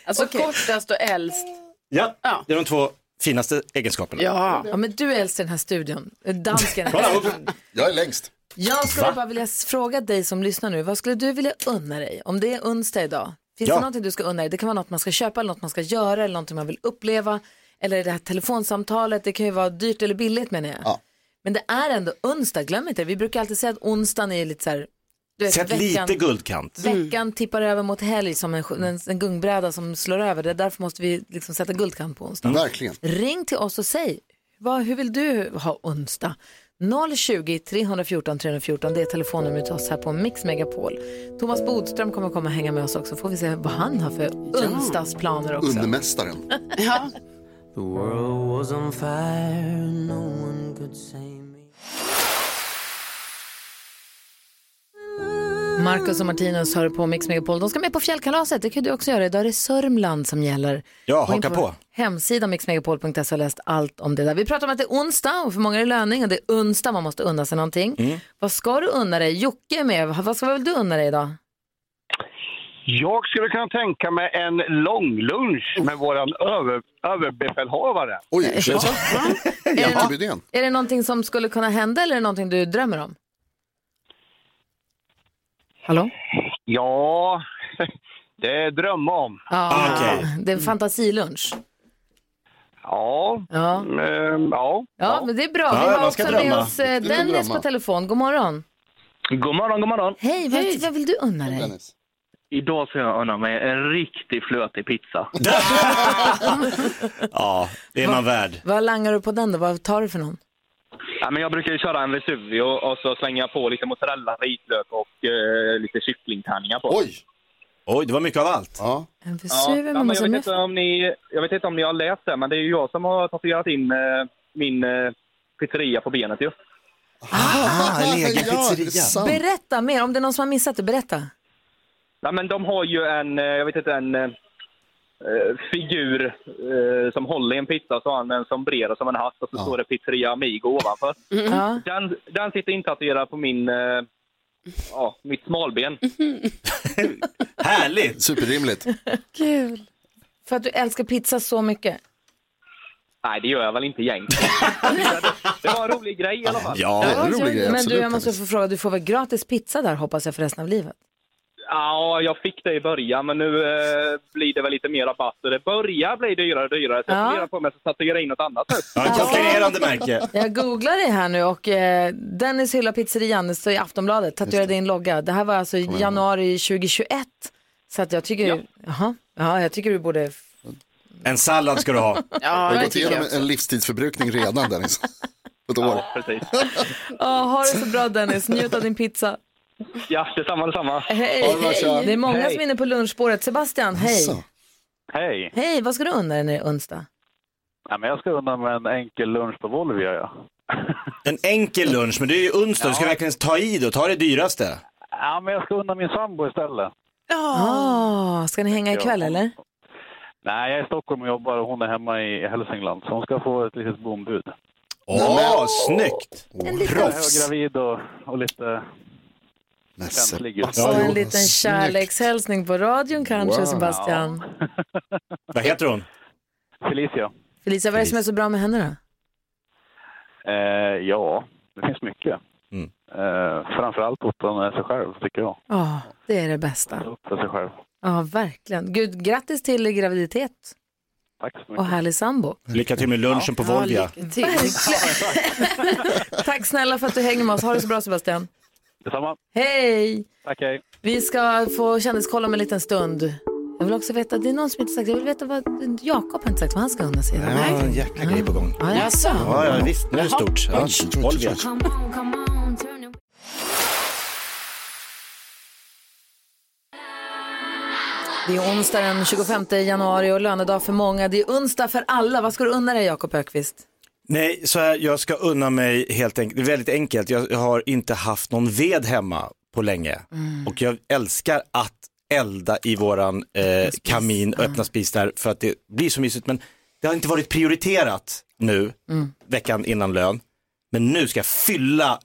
Speaker 6: Alltså kortast och äldst.
Speaker 5: Ja,
Speaker 6: Ja.
Speaker 5: det är de två finaste egenskaperna.
Speaker 6: Ja.
Speaker 4: Ja, men du är äldst i den här studion. Dansken.
Speaker 5: Kolla upp.
Speaker 7: Jag är längst.
Speaker 4: Jag skulle
Speaker 5: Va?
Speaker 4: bara vilja s- fråga dig som lyssnar nu, vad skulle du vilja unna dig om det är onsdag idag? Finns
Speaker 5: Ja.
Speaker 4: det någonting du ska unna dig? Det kan vara något man ska köpa eller något man ska göra eller någonting man vill uppleva. Eller det här telefonsamtalet, det kan ju vara dyrt eller billigt menar jag.
Speaker 7: Ja.
Speaker 4: Men det är ändå onsdag, glöm inte det. Vi brukar alltid säga att onsdagen är lite så här, du vet,
Speaker 5: Sätt
Speaker 4: veckan,
Speaker 5: lite guldkant.
Speaker 4: veckan tippar över mot helg som en, en, en gungbräda som slår över. Det är därför måste vi liksom sätta guldkant på onsdag.
Speaker 7: Verkligen.
Speaker 4: Ring till oss och säg, vad, hur vill du ha onsdag? 020 314 314, det är telefonnumret till oss här på Mix Megapol. Thomas Bodström kommer komma och hänga med oss också, får vi se vad han har för onsdagsplaner också.
Speaker 7: Undermästaren.
Speaker 6: ja.
Speaker 4: Marcus och Martinus hör på Mix Megapol, de ska med på fjällkalaset, det kan du också göra, idag är det Sörmland som gäller.
Speaker 5: Ja,
Speaker 4: Gå in
Speaker 5: haka på.
Speaker 4: Hemsidan mixmegapol.se har läst allt om det där. Vi pratar om att det är onsdag och för många är det löning och det är onsdag man måste unna sig någonting.
Speaker 5: Mm.
Speaker 4: Vad ska du unna dig? Jocke är med, vad ska väl du unna dig idag?
Speaker 15: Jag skulle kunna tänka mig en lång lunch med våran över, överbefälhavare.
Speaker 7: Oj, är det så? Jakob Rydén.
Speaker 4: Är det någonting som skulle kunna hända eller är det någonting du drömmer om? Hallå?
Speaker 15: Ja, det är drömma om.
Speaker 4: Ja,
Speaker 5: Ah, Okej.
Speaker 4: det är en fantasilunch.
Speaker 15: Ja,
Speaker 4: Ja.
Speaker 15: ehm, ja.
Speaker 4: Ja, men det är bra.
Speaker 5: Ja,
Speaker 4: Vi har
Speaker 5: man ska
Speaker 4: också med
Speaker 5: drömma.
Speaker 4: oss eh,
Speaker 7: Det är att
Speaker 4: Dennis
Speaker 7: drömma.
Speaker 4: på telefon. God morgon.
Speaker 15: God morgon, god morgon.
Speaker 4: Hej, vad, vad vill du unna dig?
Speaker 7: Dennis.
Speaker 15: Idag ska jag unna mig en riktig flötig pizza.
Speaker 5: Ja, det är man värd.
Speaker 4: Vad langar du på den då? Vad tar du för någon?
Speaker 15: Ja, men jag brukar ju köra en Vesuvio och så slänger jag på lite mozzarella, vitlök och eh, lite kycklingtärningar på.
Speaker 7: Oj,
Speaker 5: Oj, det var mycket av allt.
Speaker 7: Ja.
Speaker 4: En
Speaker 3: ja, men jag, vet inte om ni, jag vet inte om ni har läst det, men det är ju jag som har tatuerat in eh, min eh, pizzeria på benet ju.
Speaker 5: Ah, en egen
Speaker 3: pizzeria.
Speaker 4: Berätta mer, om det är någon som har missat det, berätta.
Speaker 3: Nej, men de har ju en, eh, jag vet inte, en eh, eh, figur eh, som håller i en pizza och så har han en sombrero som en hatt och så står det pizzeria Amigo ovanför.
Speaker 15: Mm. Ja.
Speaker 3: Den, den sitter intatuerad på min, eh, ja, mitt smalben.
Speaker 5: Härligt!
Speaker 7: Superrimligt.
Speaker 4: Kul. För att du älskar pizza så mycket.
Speaker 3: Nej, det gör jag väl inte egentligen. det var en rolig grej i alla fall.
Speaker 4: Men du, jag måste få fråga, du får väl gratis pizza där hoppas jag för resten av livet?
Speaker 3: Ja, jag fick det i början, men nu eh, blir det väl lite mer rabatt. Och det börjar bli dyrare och dyrare, så jag
Speaker 4: Ja.
Speaker 3: funderar på om jag ska tatuera in något annat nu.
Speaker 5: Ja, konkurrerande märke.
Speaker 4: Jag googlar det här nu och eh, Dennis hyllar pizzerian, det står i Aftonbladet, tatuerade in logga. Det här var alltså i
Speaker 16: Kom igen.
Speaker 4: januari 2021. Så att jag tycker,
Speaker 5: Ja.
Speaker 4: ja. Jaha, ja, jag tycker du borde
Speaker 5: En sallad ska du ha.
Speaker 4: Ja,
Speaker 7: har
Speaker 4: det
Speaker 7: gått
Speaker 4: tycker jag
Speaker 7: igenom
Speaker 4: också.
Speaker 7: en livstidsförbrukning redan Dennis. På ett år.
Speaker 4: Ja, ha det så bra Dennis, njut av din pizza.
Speaker 3: Ja, detsamma, detsamma.
Speaker 4: Hej, hej. Det är många som är inne på lunchspåret. Sebastian, hej.
Speaker 17: Hej!
Speaker 4: Hej, vad ska du undra när det är onsdag?
Speaker 17: Ja, men jag ska undan med en enkel lunch på Volvia. Ja.
Speaker 5: En enkel lunch, men det är ju onsdag, du ska verkligen ta i det och ta det dyraste.
Speaker 17: ja, men jag ska undan min sambo istället.
Speaker 4: Ah, ska ni hänga ikväll eller?
Speaker 17: Nej, jag är i Stockholm och jobbar och hon är hemma i Hälsingland, så hon ska få ett litet bombud.
Speaker 5: Åh, snyggt!
Speaker 17: Proffs! gravid och, och lite känslig. just nu.
Speaker 4: Och en liten kärlekshälsning på radion kanske,
Speaker 17: Wow.
Speaker 4: Sebastian.
Speaker 5: Vad heter hon?
Speaker 17: Felicia.
Speaker 4: Felicia, vad är det som är så bra med henne då?
Speaker 17: Eh, ja, det finns mycket.
Speaker 5: Mm.
Speaker 17: Eh, framförallt att hon är sig själv, tycker jag.
Speaker 4: Ja, Ah, det är det bästa.
Speaker 17: För sig själv.
Speaker 4: Ja, verkligen. Gud, grattis till graviditet
Speaker 17: Tack så mycket.
Speaker 4: och härlig sambo.
Speaker 5: Lycka till med lunchen på Volvia.
Speaker 4: Tack snälla för att du hänger med oss. Ha det så bra Sebastian.
Speaker 17: Detsamma.
Speaker 4: Hej!
Speaker 17: Tack, hej.
Speaker 4: Vi ska få kändiskoll om en liten stund. Jag vill också veta, det är någon som inte sagt, jag vill veta vad Jakob har inte sagt vad han ska unna sig.
Speaker 5: Ja, en jäkla grej på gång.
Speaker 4: Ja, jaså.
Speaker 5: Ja, ja, visst, nu är det stort. Ja, Volvia.
Speaker 4: Det är onsdag den 25 januari och lönedag för många. Det är onsdag för alla. Vad ska du unna dig Jakob Ökvist?
Speaker 5: Nej, så här, jag ska unna mig helt enkelt, det är väldigt enkelt, jag har inte haft någon ved hemma på länge
Speaker 11: Mm.
Speaker 5: och jag älskar att elda i våran eh, kamin och öppna spis där för att det blir så mysigt men det har inte varit prioriterat nu
Speaker 4: Mm.
Speaker 5: veckan innan lön men nu ska jag fylla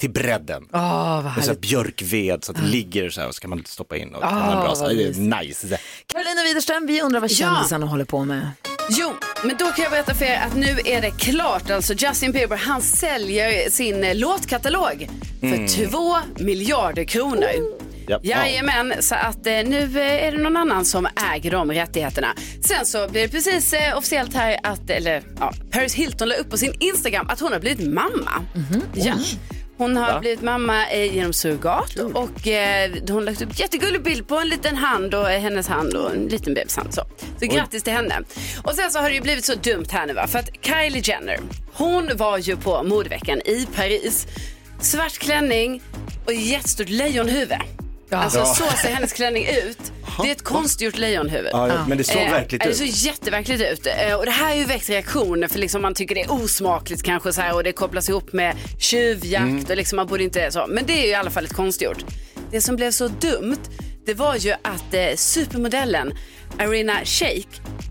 Speaker 5: till bredden.
Speaker 4: Åh, vad
Speaker 5: Med så här
Speaker 4: härligt.
Speaker 5: björkved så att det ligger så här och så kan man stoppa in och
Speaker 4: Ah,
Speaker 5: tända en brasa.
Speaker 4: vad
Speaker 5: Det är nice.
Speaker 4: Karolina Widerström, vi undrar vad kändisarna håller på med.
Speaker 6: Jo, men då kan jag berätta för er att nu är det klart. Alltså Justin Bieber, han säljer sin eh, låtkatalog för
Speaker 18: Mm.
Speaker 6: två miljarder kronor.
Speaker 18: Japp.
Speaker 6: Jajamän, så att eh, nu eh, är det någon annan som äger de rättigheterna. Sen så blir det precis eh, officiellt här att, eller ja, Paris Hilton la upp på sin Instagram att hon har blivit mamma. Ja. Hon har
Speaker 18: Mhm. Va?
Speaker 6: blivit mamma eh, genom surrogat och eh, hon har lagt upp en jättegullig bild på en liten hand och eh, hennes hand och en liten bebishand. Så, så
Speaker 18: Oj.
Speaker 6: grattis till henne. Och sen så har det ju blivit så dumt här nu va, för att Kylie Jenner, hon var ju på modeveckan i Paris. Svart klänning och jättestort lejonhuvud. Alltså
Speaker 5: Ja.
Speaker 6: så ser hennes klänning ut. Det är ett konstgjort lejonhuvud.
Speaker 5: Ja, ja, men det såg verkligt
Speaker 6: eh,
Speaker 5: ut.
Speaker 6: Det såg jätteverkligt ut. Eh, och det här har ju väckt reaktioner för liksom man tycker det är osmakligt kanske så här och det kopplas ihop med tjuvjakt
Speaker 18: Mm.
Speaker 6: och liksom man borde inte så. Men det är ju i alla fall ett konstgjort. Det som blev så dumt, det var ju att eh, supermodellen Arena Shake,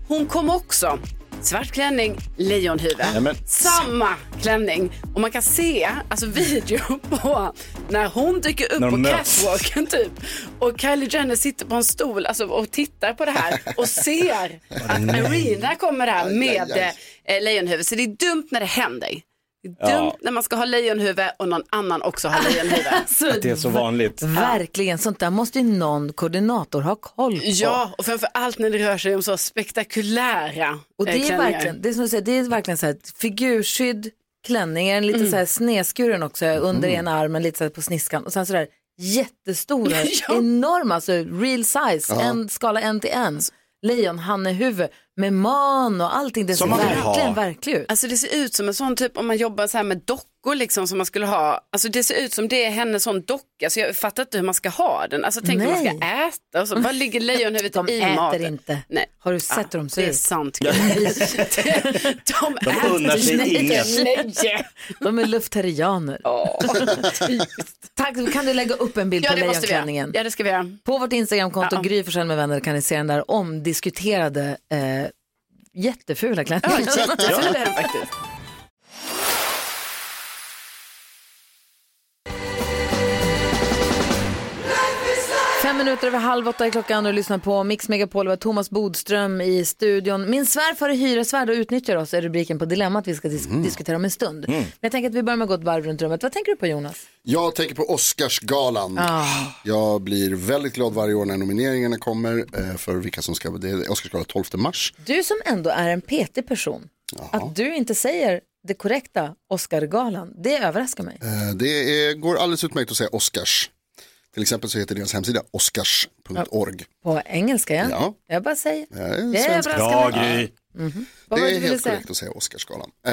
Speaker 6: hon kom också Svart klänning, lejonhuvud.
Speaker 18: Nämen.
Speaker 6: Samma klänning. Och man kan se alltså, video på när hon dyker upp
Speaker 18: När de
Speaker 6: på
Speaker 18: möts.
Speaker 6: catwalken typ. Och Kylie Jenner sitter på en stol alltså, och tittar på det här och ser att
Speaker 18: nej.
Speaker 6: Arena kommer här med
Speaker 18: aj,
Speaker 6: eh, lejonhuvud. Så det är dumt när det händer. Det är
Speaker 5: Ja.
Speaker 6: dumt när man ska ha lejonhuvud och någon annan också har lejonhuvud.
Speaker 5: Att det är så vanligt.
Speaker 4: Verkligen, sånt där måste ju någon koordinator ha koll på.
Speaker 6: Ja, och framför allt när det rör sig om så spektakulära
Speaker 4: Och det
Speaker 6: eh,
Speaker 4: är,
Speaker 6: klänningar.
Speaker 4: verkligen, det är som du säger, det är verkligen så här figurskydd, klänningen, lite så här snedskuren också under
Speaker 6: Mm.
Speaker 4: ena armen, lite så här på sniskan och sen så där jättestora, enorma, alltså real size,
Speaker 6: Ja.
Speaker 4: en skala en till en, lejonhannehuvud med man och allting. Det ser
Speaker 6: Som man vill
Speaker 4: verkligen,
Speaker 6: ha.
Speaker 4: verkligen ut.
Speaker 6: Alltså det ser ut som en sån typ, om man jobbar så här med dockor liksom som man skulle ha, alltså det ser ut som det är hennes sån docka, så jag fattar inte hur man ska ha den. Alltså tänk om man ska äta och så bara ligger lejonhuvudet
Speaker 4: De
Speaker 6: Alltså, i
Speaker 4: äter
Speaker 6: maten.
Speaker 4: inte.
Speaker 6: Nej. Ah,
Speaker 4: Har du sett hur de ser
Speaker 6: det är
Speaker 4: ut?
Speaker 6: sant.
Speaker 4: Ja.
Speaker 6: de,
Speaker 4: äter
Speaker 5: unnar sig
Speaker 4: inte.
Speaker 5: inget.
Speaker 4: Nej. De är luftarianer. Tack, kan du lägga upp en bild
Speaker 6: Ja,
Speaker 4: på
Speaker 6: det måste vi
Speaker 4: lejonklänningen?
Speaker 6: göra. Ja, det ska vi göra.
Speaker 4: På vårt Instagramkonto
Speaker 6: Ja.
Speaker 4: Gry Forssell med vänner kan ni se den där omdiskuterade eh, jättefula
Speaker 6: Ja,
Speaker 4: klänningen.
Speaker 6: jätteful är den faktiskt.
Speaker 4: Fem minuter över halv åtta är klockan och lyssnar på Mix Megapol. Det var Thomas Bodström i studion. Min svärfar är hyresvärd och utnyttjar oss är rubriken på dilemmat vi ska dis- diskutera om en stund.
Speaker 7: Mm.
Speaker 4: Men jag tänker att vi börjar med att gå ett varv runt rummet. Vad tänker du på Jonas?
Speaker 7: Jag tänker på Oscarsgalan.
Speaker 4: Ah.
Speaker 7: Jag blir väldigt glad varje år när nomineringarna kommer eh, för vilka som ska, det är Oscarsgalan 12 mars.
Speaker 4: Du som ändå är en petig person, att du inte säger det korrekta Oscargalan, det överraskar mig.
Speaker 7: Eh, Det är, går alldeles utmärkt att säga Oscars. Till exempel så heter deras hemsida oscars.org.
Speaker 4: På engelska, ja.
Speaker 7: Ja.
Speaker 4: Jag bara säger.
Speaker 7: Eh, det är
Speaker 4: Det
Speaker 7: svenska.
Speaker 4: överraskar mig. Mhm. Vad var
Speaker 7: Det
Speaker 4: det
Speaker 7: är
Speaker 4: du ville
Speaker 7: helt
Speaker 4: säga?
Speaker 7: korrekt att säga Oscarsgalan. Eh,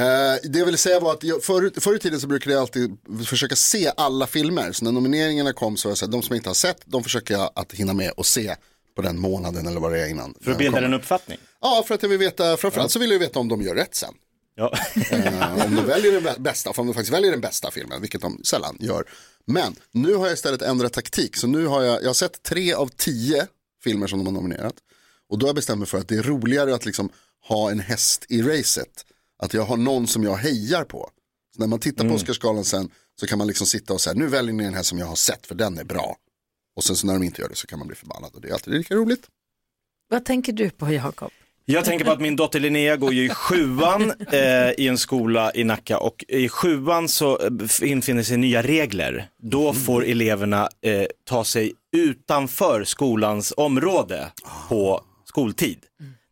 Speaker 7: det jag ville säga var att jag, förut, förr i tiden så brukade jag alltid försöka se alla filmer. Så när nomineringarna kom så var jag så här, de som jag inte har sett, de försöker jag att hinna med och se på den månaden eller vad det är innan. Eh,
Speaker 5: För att bilda en uppfattning.
Speaker 7: Ja, för att jag vill veta, framförallt så vill jag veta om de gör rätt sen.
Speaker 5: Ja.
Speaker 7: Eh, om de väljer den bä- bästa, för om de faktiskt väljer den bästa filmen, vilket de sällan gör. Men nu har jag istället ändrat taktik, så nu har jag, jag har sett tre av tio filmer som de har nominerat. Och då har jag bestämt mig för att det är roligare att liksom ha en häst i racet. Att jag har någon som jag hejar på. Så när man tittar på Oscarsgalan sen så kan man liksom sitta och säga, nu väljer ni den här som jag har sett för den är bra. Och sen så när de inte gör det så kan man bli förbannad och det är alltid lika roligt.
Speaker 4: Vad tänker du på Jakob?
Speaker 5: Jag tänker på att min dotter Linnea går ju i sjuan eh, i en skola i Nacka och i sjuan så eh, infinner sig nya regler. Då får eleverna eh, ta sig utanför skolans område på skoltid.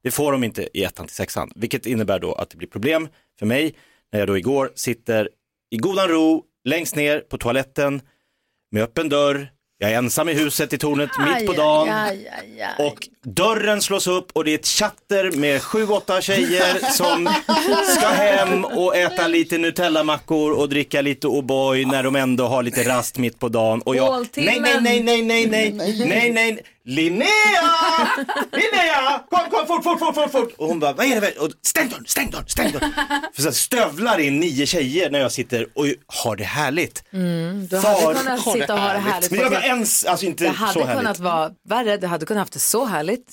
Speaker 5: Det får de inte i ettan till sexan, vilket innebär då att det blir problem för mig när jag då igår sitter i godan ro längst ner på toaletten med öppen dörr. Jag är ensam i huset i tornet mitt på dagen.
Speaker 4: Aj, aj, aj.
Speaker 5: Och dörren slås upp och det är ett chatter med sju, åtta tjejer som ska hem och äta lite Nutella-mackor och dricka lite O'boy när de ändå har lite rast mitt på dagen. Och jag, nej, nej, nej, nej, nej, nej, nej, nej, Linnea! Linnea! Kom, kom, fort, fort, fort, fort, fort! Och hon bara, vad är det? väl?" Och, stäng dörren, stäng dörren, stäng dörren! För så stövlar in nio tjejer när jag sitter och har det härligt.
Speaker 4: Mm, du
Speaker 5: Far-
Speaker 4: hade kunnat
Speaker 5: har
Speaker 4: sitta och ha det härligt.
Speaker 5: Men jag var ens, alltså inte
Speaker 4: det hade
Speaker 5: så
Speaker 4: kunnat
Speaker 5: härligt.
Speaker 4: vara värre, du hade kunnat haft det så härligt.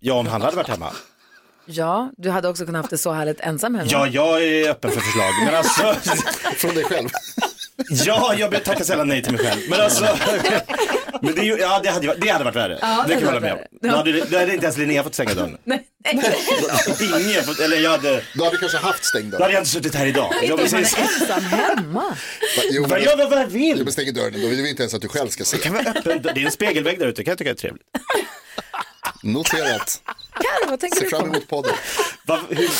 Speaker 5: Ja, om han hade varit hemma.
Speaker 4: Ja, du hade också kunnat haft det så härligt ensam hemma.
Speaker 5: Ja, jag är öppen för förslag. Men alltså...
Speaker 7: Från dig själv?
Speaker 5: Ja, jag be- tackar sällan nej till mig själv. Men alltså... Men det, är ju- ja, det, hade, ju varit- det hade varit värre.
Speaker 4: Ja, det
Speaker 5: det kan jag
Speaker 4: hade
Speaker 5: hålla med om.
Speaker 4: varit
Speaker 5: Då hade, då hade inte ens Linnea fått stänga dörren. Ingen fått, eller jag hade...
Speaker 7: Du hade kanske haft stängd dörr.
Speaker 5: Då hade jag inte suttit här idag. Jag
Speaker 4: Man
Speaker 5: precis...
Speaker 4: är ensam hemma.
Speaker 7: Jo,
Speaker 5: Vad gör vad jag vill.
Speaker 7: Jag stänger dörren, då vill vi inte ens att du själv ska se. Det
Speaker 5: kan vara öppen, det är en spegelvägg där ute, kan jag tycka är trevligt.
Speaker 7: Noterat.
Speaker 4: Karro, vad tänker
Speaker 7: Se
Speaker 4: du
Speaker 7: fram
Speaker 4: på?
Speaker 7: emot podden.
Speaker 5: Va, hur,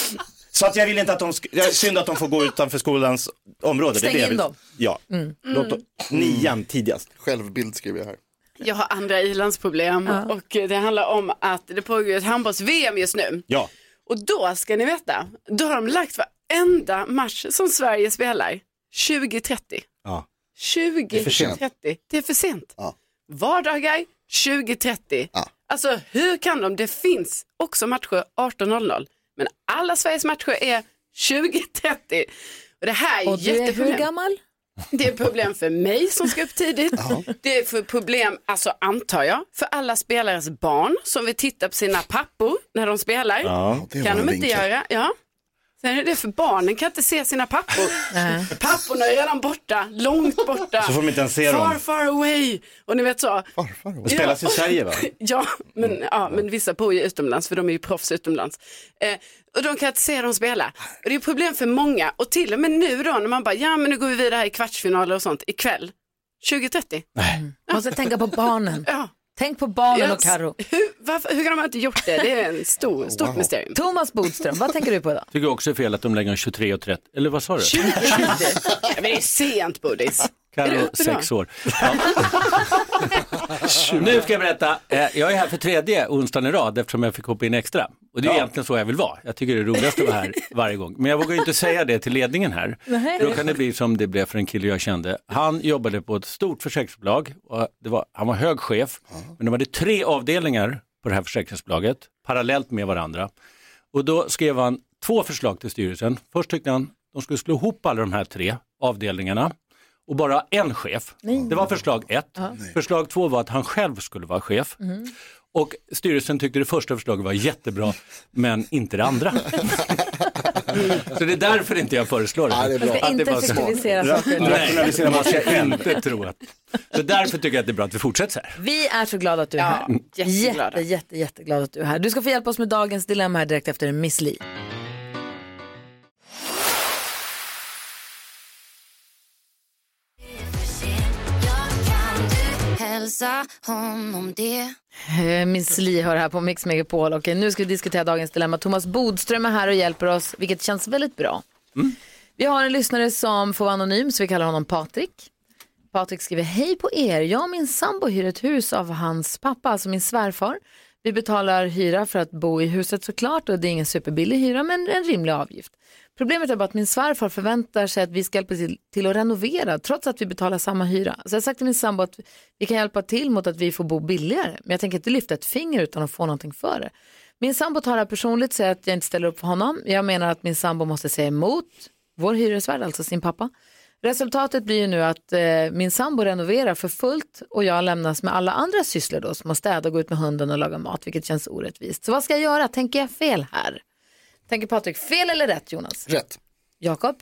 Speaker 5: så att jag vill inte att de, sk- jag synd att de får gå utanför skolans område. det är
Speaker 6: Stäng
Speaker 5: det jag
Speaker 6: in
Speaker 5: vill.
Speaker 6: dem.
Speaker 5: Ja,
Speaker 6: Mm.
Speaker 5: låt dem- nian tidigast.
Speaker 7: Självbild skriver jag här.
Speaker 6: Jag har andra ilandsproblem och eh, det handlar om att det pågår ju ett handbolls-VM just nu.
Speaker 5: Ja.
Speaker 6: Och då ska ni veta, då har de lagt varenda match som Sverige spelar 2030.
Speaker 5: Ja.
Speaker 6: 2030.
Speaker 5: Det är för sent.
Speaker 6: Det är för sent. Vardagar 2030. Alltså hur kan de? Det finns också matcher 18.00. Men alla Sveriges matcher är 2030. Och det här är
Speaker 4: Och du är
Speaker 6: jätteproblem.
Speaker 4: hur gammal?
Speaker 6: Det är problem för mig som ska upp tidigt. Det är för problem, alltså antar jag, för alla spelares barn som vill titta på sina pappor när de spelar.
Speaker 5: Ja, det var
Speaker 6: kan
Speaker 5: en
Speaker 6: de inte
Speaker 5: vinkel.
Speaker 6: göra. Ja. Sen är det för barnen kan inte se sina pappor. Papporna är redan borta, långt borta.
Speaker 5: Så får de inte ens se
Speaker 6: far,
Speaker 5: dem.
Speaker 6: far away. Och ni vet så.
Speaker 5: Det spelas i Sverige, va? Mm.
Speaker 6: ja, men, ja, men vissa bor ju utomlands för de är ju proffs utomlands. Eh, och de kan inte se dem spela. Och det är problem för många. Och till och med nu då när man bara, ja men nu går vi vidare här i kvartsfinaler och sånt ikväll. 2030.
Speaker 4: Måste tänka på barnen. Tänk på barnen och Karro.
Speaker 6: Hur, varför, hur kan de inte gjort det? Det är en stor, stort mysterium.
Speaker 4: Thomas Bodström, vad tänker du på idag?
Speaker 11: Tycker också det är fel att de lägger en 23.30, eller vad sa du?
Speaker 6: Ja, men det är sent Bodis. Är du
Speaker 11: Carro,
Speaker 6: uppe då?
Speaker 11: sex år. nu ska jag berätta, Eh, jag är här för tredje onsdagen i rad eftersom jag fick hoppa in extra. Och det är egentligen så jag vill vara. Jag tycker det är roligast att vara här varje gång. Men jag vågar ju inte säga det till ledningen här.
Speaker 4: Nej.
Speaker 11: Då kan det bli som det blev för en kille jag kände. Han jobbade på ett stort försäkringsbolag. Och det var, han var hög chef, men de hade tre avdelningar på det här försäkringsbolaget parallellt med varandra. Och då skrev han två förslag till styrelsen. Först tyckte han de skulle slå ihop alla de här tre avdelningarna och bara ha en chef.
Speaker 4: Nej.
Speaker 11: Det var förslag ett. Förslag två var att han själv skulle vara chef.
Speaker 4: Mhm.
Speaker 11: Och styrelsen tyckte det första förslaget var jättebra, men inte det andra. Så det är därför inte jag föreslår det.
Speaker 4: Ja, det är bra. Man ska inte effektivisera saker.
Speaker 11: Nej,
Speaker 4: Rationalisera
Speaker 11: man
Speaker 4: bort.
Speaker 11: ska inte tro att... Så därför tycker jag att det är bra att vi fortsätter så här.
Speaker 4: Vi är så glada att du är här. Jätte, jätte, jätteglada att du är här. Du ska få hjälpa oss med dagens dilemma här direkt efter Miss Li.
Speaker 18: Hälsa honom det.
Speaker 4: Eh, Miss Li hör här på Mix Megapol och eh, nu ska vi diskutera dagens dilemma. Thomas Bodström är här och hjälper oss, vilket känns väldigt bra. Vi har en lyssnare som får vara anonym, så vi kallar honom Patrik. Patrik skriver, hej på er, jag och min sambo hyr ett hus av hans pappa, alltså min svärfar. Vi betalar hyra för att bo i huset såklart och det är ingen superbillig hyra men en rimlig avgift. Problemet är bara att min svärfar förväntar sig att vi ska hjälpa till, till att renovera trots att vi betalar samma hyra. Så jag har sagt till min sambo att vi kan hjälpa till mot att vi får bo billigare men jag tänker inte lyfta ett finger utan att få någonting för det. Min sambo tar det här personligt säger att jag inte ställer upp för honom. Jag menar att min sambo måste säga emot vår hyresvärd, alltså sin pappa. Resultatet blir ju nu att eh, min sambo renoverar för fullt och jag lämnas med alla andra sysslor då som att städa, gå ut med hunden och laga mat, vilket känns orättvist. Så vad ska jag göra? Tänker jag fel här? Tänker Patrik fel eller rätt Jonas?
Speaker 7: Rätt.
Speaker 4: Jakob?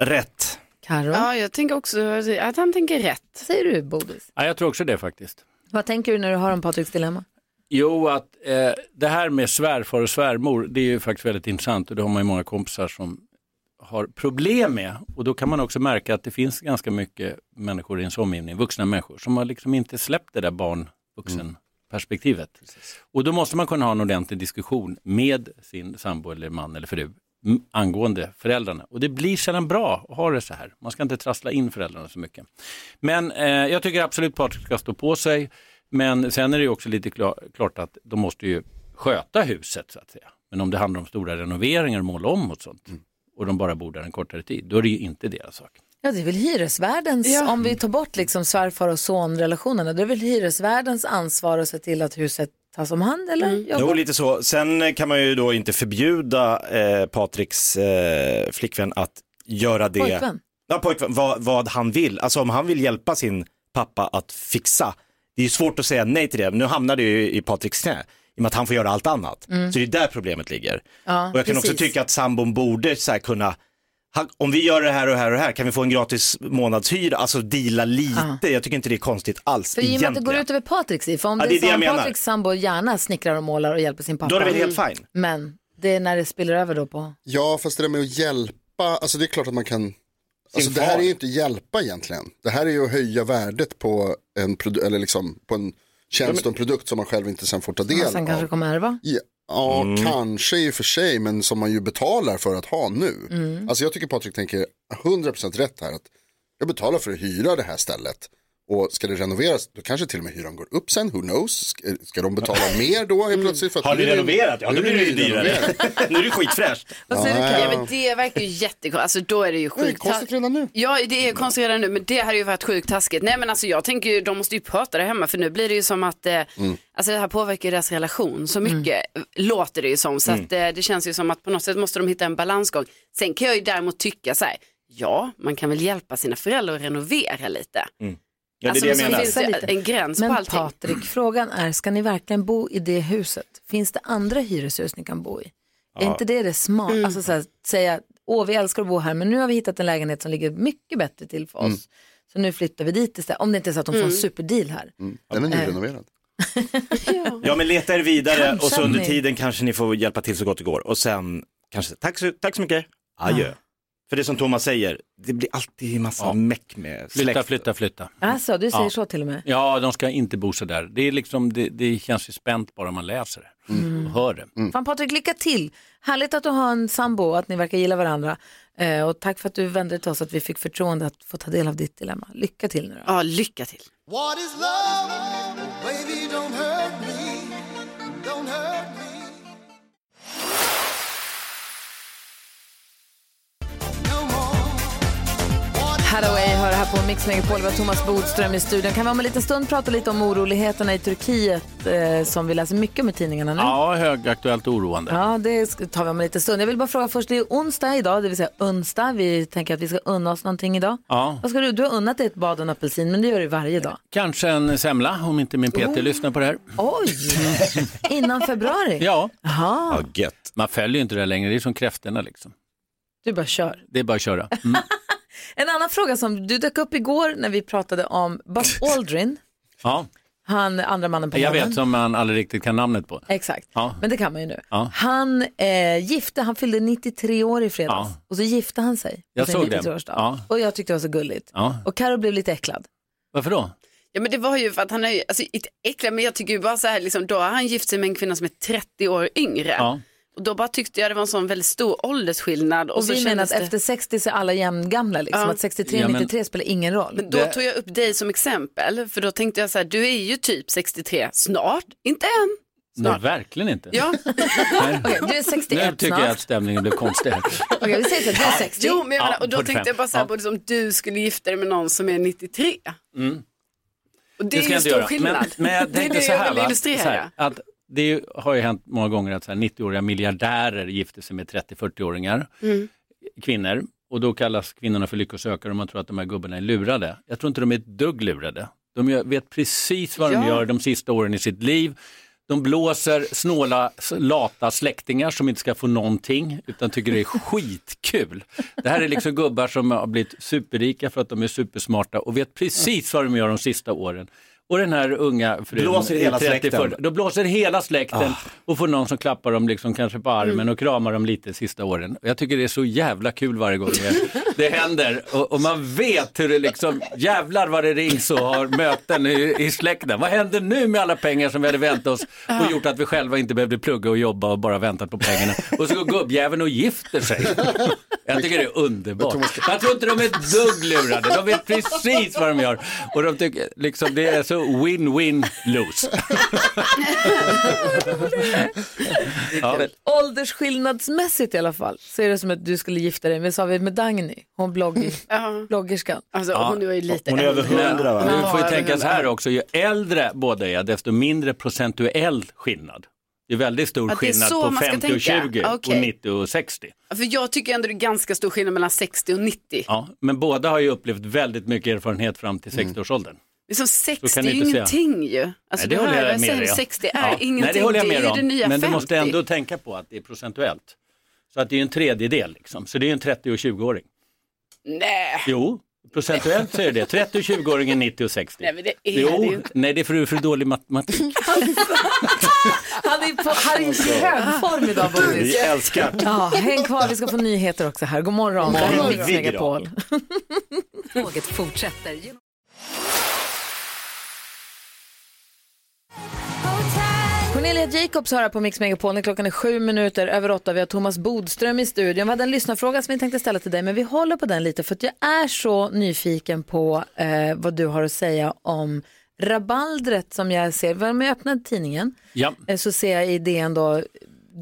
Speaker 11: Rätt.
Speaker 4: Karo?
Speaker 6: Ja, jag tänker också att han tänker rätt.
Speaker 4: Säger du Bodis?
Speaker 11: Ja, jag tror också det faktiskt.
Speaker 4: Vad tänker du när du hör om Patriks dilemma?
Speaker 11: Jo, att eh, det här med svärfar och svärmor, det är ju faktiskt väldigt intressant och det har man ju många kompisar som har problem med. Och då kan man också märka att det finns ganska mycket människor i ens omgivning, vuxna människor, som har liksom inte släppt det där barn-vuxen-perspektivet. Och då måste man kunna ha en ordentlig diskussion med sin sambo eller man eller fru m- angående föräldrarna. Och det blir sällan bra att ha det så här. Man ska inte trassla in föräldrarna så mycket. Men eh, jag tycker absolut Patrik ska stå på sig.
Speaker 5: Mm.
Speaker 11: Men sen är det ju också lite kla- klart att de måste ju sköta huset så att säga. Men om det handlar om stora renoveringar och måla om och sånt och de bara bor där en kortare tid, då är det ju inte deras sak.
Speaker 4: Ja, det är väl hyresvärdens, om vi tar bort liksom svärfar och sonrelationerna, det är väl hyresvärdens ansvar att se till att huset tas om hand eller?
Speaker 11: Mm.
Speaker 4: Jakob?
Speaker 19: Jo, lite så. Sen eh, kan man ju då inte förbjuda eh, Patriks eh, flickvän att göra det.
Speaker 4: Pojkvän.
Speaker 19: Ja, pojkvän. Vad, vad han vill. Alltså om han vill hjälpa sin pappa att fixa. Det är ju svårt att säga nej till det. Men nu hamnar det ju i Patriks knä. I och med att han får göra allt annat.
Speaker 4: Mm.
Speaker 19: Så det är där problemet ligger.
Speaker 4: Ja,
Speaker 19: och jag kan också
Speaker 4: precis.
Speaker 19: tycka att sambon borde så här kunna han- om vi gör det här och det här och det här, kan vi få en gratis månadshyra? Alltså deala lite, jag tycker inte det är konstigt alls.
Speaker 4: För i och med att det
Speaker 19: egentligen.
Speaker 4: går ut över Patriks i, för om
Speaker 19: Ja,
Speaker 4: det
Speaker 19: det
Speaker 4: är
Speaker 19: är det
Speaker 4: så
Speaker 19: jag
Speaker 4: om
Speaker 19: menar.
Speaker 4: Patriks sambo gärna snickrar och målar och hjälper sin pappa.
Speaker 19: Då är det väl helt fine.
Speaker 4: Men det är när det spiller över då på.
Speaker 7: Ja, fast det där med att hjälpa, alltså det är klart att man kan, alltså det här
Speaker 4: far.
Speaker 7: är ju inte hjälpa egentligen. Det här är ju att höja värdet på en, produ- eller liksom, på en tjänst och en produkt som man själv inte sen får ta del
Speaker 4: Och sen kanske
Speaker 7: av.
Speaker 4: kommer ärva.
Speaker 7: Ja, ja
Speaker 4: Mm.
Speaker 7: kanske i och för sig, men som man ju betalar för att ha nu.
Speaker 4: Mm.
Speaker 7: Alltså jag tycker Patrik tänker 100% rätt här, att jag betalar för att hyra det här stället. Och ska det renoveras, då kanske till och med hyran går upp sen, who knows? Ska- Ska de betala mer då helt plötsligt? För att
Speaker 19: Har
Speaker 7: nu
Speaker 19: ni
Speaker 7: är det-
Speaker 19: renoverat? Ja,
Speaker 7: nu
Speaker 19: då
Speaker 7: är
Speaker 19: blir det ju dyrare.
Speaker 7: renoverat.
Speaker 19: nu är det skitfräscht.
Speaker 7: Vad säger du, Karin?
Speaker 6: Ja, men det verkar ju jättekonstigt. Alltså då är det ju sjukt.
Speaker 7: Det är konstigt redan nu.
Speaker 6: Ja, det är konstigt redan nu, men det hade ju varit sjukt taskigt. Nej, men alltså jag tänker ju, de måste ju prata där hemma, för nu blir det ju som att, eh,
Speaker 19: Mm.
Speaker 6: alltså det här påverkar ju deras relation så mycket, låter det ju som. Så
Speaker 20: Mm.
Speaker 6: att, eh, det känns ju som att på något sätt måste de hitta en balansgång. Sen kan jag ju däremot tycka så här, ja, man kan väl hjälpa sina föräldrar att renovera lite.
Speaker 19: Mm. Ja, det
Speaker 6: Alltså,
Speaker 19: är det
Speaker 6: men
Speaker 19: jag
Speaker 6: så
Speaker 19: menar.
Speaker 6: finns det en gräns
Speaker 4: Men
Speaker 6: på allting.
Speaker 4: Patrik, frågan är, ska ni verkligen bo i det huset? Finns det andra hyreshus ni kan bo i? Är
Speaker 6: Ja.
Speaker 4: inte det det smart?
Speaker 6: Mm.
Speaker 4: Alltså så här, säga, åh vi älskar att bo här, men nu har vi hittat en lägenhet som ligger mycket bättre till för oss.
Speaker 7: Mm.
Speaker 4: Så nu flyttar vi dit istället, om det inte är så att de får
Speaker 7: Mm.
Speaker 4: en superdeal här.
Speaker 7: Mm. Den är
Speaker 4: Eh.
Speaker 7: nyrenoverad.
Speaker 19: Ja, men leta er vidare
Speaker 4: Kanske
Speaker 19: och så under
Speaker 4: ni-
Speaker 19: tiden kanske ni får hjälpa till så gott det går. Och sen kanske, tack så, tack så mycket, adjö. För det som Thomas säger, det blir alltid en massa meck med
Speaker 11: Flytta,
Speaker 19: släkt.
Speaker 11: flytta, flytta.
Speaker 4: Alltså, du säger
Speaker 11: Ja.
Speaker 4: så till och med.
Speaker 11: Ja, de ska inte bo så där. Det, är liksom, det, det känns ju spänt bara man läser det
Speaker 6: Mm.
Speaker 11: och hör det.
Speaker 4: Fan Patrik, lycka till. Härligt att du har en sambo och att ni verkar gilla varandra. Eh, och tack för att du vände dig till oss, att vi fick förtroende att få ta del av ditt dilemma. Lycka till nu då.
Speaker 6: Ja, lycka till.
Speaker 18: What is love? Baby, don't hurt me. Don't hurt me.
Speaker 4: Mix Megapol. Vi har Thomas Bodström i studion. Kan vi om en liten stund prata lite om oroligheterna i Turkiet eh, som vi läser mycket om i tidningarna nu?
Speaker 11: Ja, högaktuellt och oroande.
Speaker 4: Ja, det tar vi om en liten stund. Jag vill bara fråga först, det är onsdag idag, det vill säga onsdag. Vi tänker att vi ska unna oss någonting idag.
Speaker 11: Ja.
Speaker 4: Vad ska du? Du har unnat dig ett bad och en apelsin, men det gör du varje dag.
Speaker 11: Kanske en semla om inte min PT
Speaker 4: Oh.
Speaker 11: lyssnar på det här.
Speaker 4: Oj! Innan februari?
Speaker 11: Ja.
Speaker 4: Aha.
Speaker 11: Man följer ju inte det här längre, det är som kräftorna liksom.
Speaker 4: Du bara kör.
Speaker 11: Det är bara att köra. Mm.
Speaker 4: En annan fråga som du dök upp igår när vi pratade om Buzz Aldrin,
Speaker 11: Ja,
Speaker 4: han andra mannen på
Speaker 11: jag
Speaker 4: månen.
Speaker 11: vet som man aldrig riktigt kan namnet på.
Speaker 4: Exakt,
Speaker 11: Ja.
Speaker 4: men det kan man ju nu.
Speaker 11: Ja.
Speaker 4: Han eh, gifte, han fyllde 93 år i fredags
Speaker 11: Ja.
Speaker 4: och så gifte han sig. på
Speaker 11: Jag
Speaker 4: sin
Speaker 11: såg det.
Speaker 4: 93-årsdag.
Speaker 11: Ja.
Speaker 4: Och jag tyckte det var så gulligt.
Speaker 11: Ja.
Speaker 4: Och Karo blev lite äcklad.
Speaker 11: Varför då?
Speaker 6: Ja men det var ju för att han är ju, alltså inte äcklig, men jag tycker ju bara så här, liksom, då har han gift sig med en kvinna som är 30 år yngre.
Speaker 11: Ja.
Speaker 6: Och då bara tyckte jag det var en sån väldigt stor åldersskillnad.
Speaker 4: Och,
Speaker 6: så
Speaker 4: vi menar
Speaker 6: kändes
Speaker 4: att
Speaker 6: det-
Speaker 4: efter 60 så är alla jämngamla liksom,
Speaker 6: Ja.
Speaker 4: att 63
Speaker 6: Ja, men-
Speaker 4: 93 spelar ingen roll.
Speaker 6: Men då tog jag upp dig som exempel, för då tänkte jag så här, du är ju typ 63 snart, inte än.
Speaker 11: Nej, verkligen inte.
Speaker 6: Ja.
Speaker 11: Nej.
Speaker 4: Okej, du är 61
Speaker 11: Nu tycker
Speaker 4: snart.
Speaker 11: jag att stämningen blev konstig. här.
Speaker 4: Okej, vi säger så att du är 60.
Speaker 6: Jo, men jag menar, och då
Speaker 11: Ja, 45.
Speaker 6: tänkte jag bara så här,
Speaker 11: Ja.
Speaker 6: både som du skulle gifta dig med någon som är 93.
Speaker 11: Mm.
Speaker 6: Och det, är ju
Speaker 11: ska jag
Speaker 6: en
Speaker 11: inte
Speaker 6: stor
Speaker 11: göra.
Speaker 6: skillnad.
Speaker 11: Men, men jag
Speaker 6: det är
Speaker 11: tänkte
Speaker 6: det
Speaker 11: så
Speaker 6: jag
Speaker 11: här,
Speaker 6: ville
Speaker 11: va?
Speaker 6: illustrera.
Speaker 11: Så här, att det är ju- har ju hänt många gånger att så här 90-åriga miljardärer gifter sig med 30-40-åringar,
Speaker 6: Mm.
Speaker 11: kvinnor, och då kallas kvinnorna för lyckosökare och man tror att de här gubbarna är lurade. Jag tror inte de är ett dugg lurade. De gör, vet precis vad de
Speaker 19: Ja.
Speaker 11: gör de sista åren i sitt liv. De blåser snåla, s- lata släktingar som inte ska få någonting utan tycker det är skitkul. Det här är liksom gubbar som har blivit superrika för att de är supersmarta och vet precis vad de gör de sista åren. Och den här unga frun
Speaker 19: Blåser
Speaker 11: i
Speaker 19: hela
Speaker 11: 30,
Speaker 19: släkten.
Speaker 11: 40, då blåser hela släkten
Speaker 19: Ah.
Speaker 11: och får någon som klappar dem liksom kanske på armen och kramar dem lite sista åren. Och Jag tycker det är så jävla kul varje gång det, det händer och, och man vet hur det liksom, jävlar vad det rings och har möten i, i släkten. Vad händer nu med alla pengar som vi hade väntat oss och gjort att vi själva inte behövde plugga och jobba och bara väntat på pengarna. Och så går gubbjäveln och gifter sig. Jag tycker det är underbart. Jag tror inte de är ett dugg lurade. De vet precis vad de gör. Och de tycker liksom det är så win-win-lose. Ja.
Speaker 4: Åldersskillnadsmässigt i alla fall så är det som att du skulle gifta dig med, sa vi, med Dagny, hon blogg, bloggerskan.
Speaker 6: Alltså,
Speaker 11: Ja.
Speaker 6: hon var ju lite
Speaker 11: Hon är över
Speaker 6: äldre.
Speaker 11: 100 va? Du får ju
Speaker 6: Ja,
Speaker 11: tänka
Speaker 6: över
Speaker 11: så här också, ju äldre båda är desto mindre procentuell skillnad. Det är väldigt stor
Speaker 6: Ja, det är
Speaker 11: skillnad
Speaker 6: så
Speaker 11: på
Speaker 6: man ska
Speaker 11: 50 och
Speaker 6: tänka.
Speaker 11: 20
Speaker 6: Okej.
Speaker 11: och 90 och 60.
Speaker 6: För jag tycker ändå det är ganska stor skillnad mellan 60 och 90.
Speaker 11: Ja, men båda har ju upplevt väldigt mycket erfarenhet fram till 60-årsåldern.
Speaker 6: Liksom 60
Speaker 11: kan
Speaker 6: Mm. är
Speaker 11: ni inte säga.
Speaker 6: ingenting ju. Alltså,
Speaker 11: Nej, det
Speaker 6: du
Speaker 11: håller
Speaker 6: hör,
Speaker 11: jag med
Speaker 6: säger,
Speaker 11: dig om.
Speaker 6: 60 är
Speaker 11: Ja.
Speaker 6: ingenting,
Speaker 11: Nej, det, håller jag med
Speaker 6: är ju
Speaker 11: om.
Speaker 6: det nya
Speaker 11: Men
Speaker 6: 50.
Speaker 11: du måste ändå tänka på att det är procentuellt. Så att det är en tredjedel liksom. Så det är ju en 30 och 20-åring.
Speaker 6: Nej.
Speaker 11: Jo, procentuellt så är det 30 och 20-åring är 90 och 60.
Speaker 6: Nej, men det är det
Speaker 11: jo,
Speaker 6: ju inte.
Speaker 11: nej det är för, för dålig matematik.
Speaker 4: Han är på han är i hög form idag Bodis.
Speaker 11: Vi älskar.
Speaker 4: Ja, häng kvar, vi ska få nyheter också här. God morgon, det här är Mix Megapol.
Speaker 8: Tåget fortsätter. genom-
Speaker 4: Cornelia Jacobs hör här på Mix Megapol när klockan är sju minuter över åtta. Vi har Thomas Bodström i studion. Vi hade en lyssnarfråga som vi tänkte ställa till dig, men vi håller på den lite för att jag är så nyfiken på eh, vad du har att säga om rabaldret som jag ser. Om jag öppnade tidningen
Speaker 11: Ja.
Speaker 4: eh, så ser jag i DN då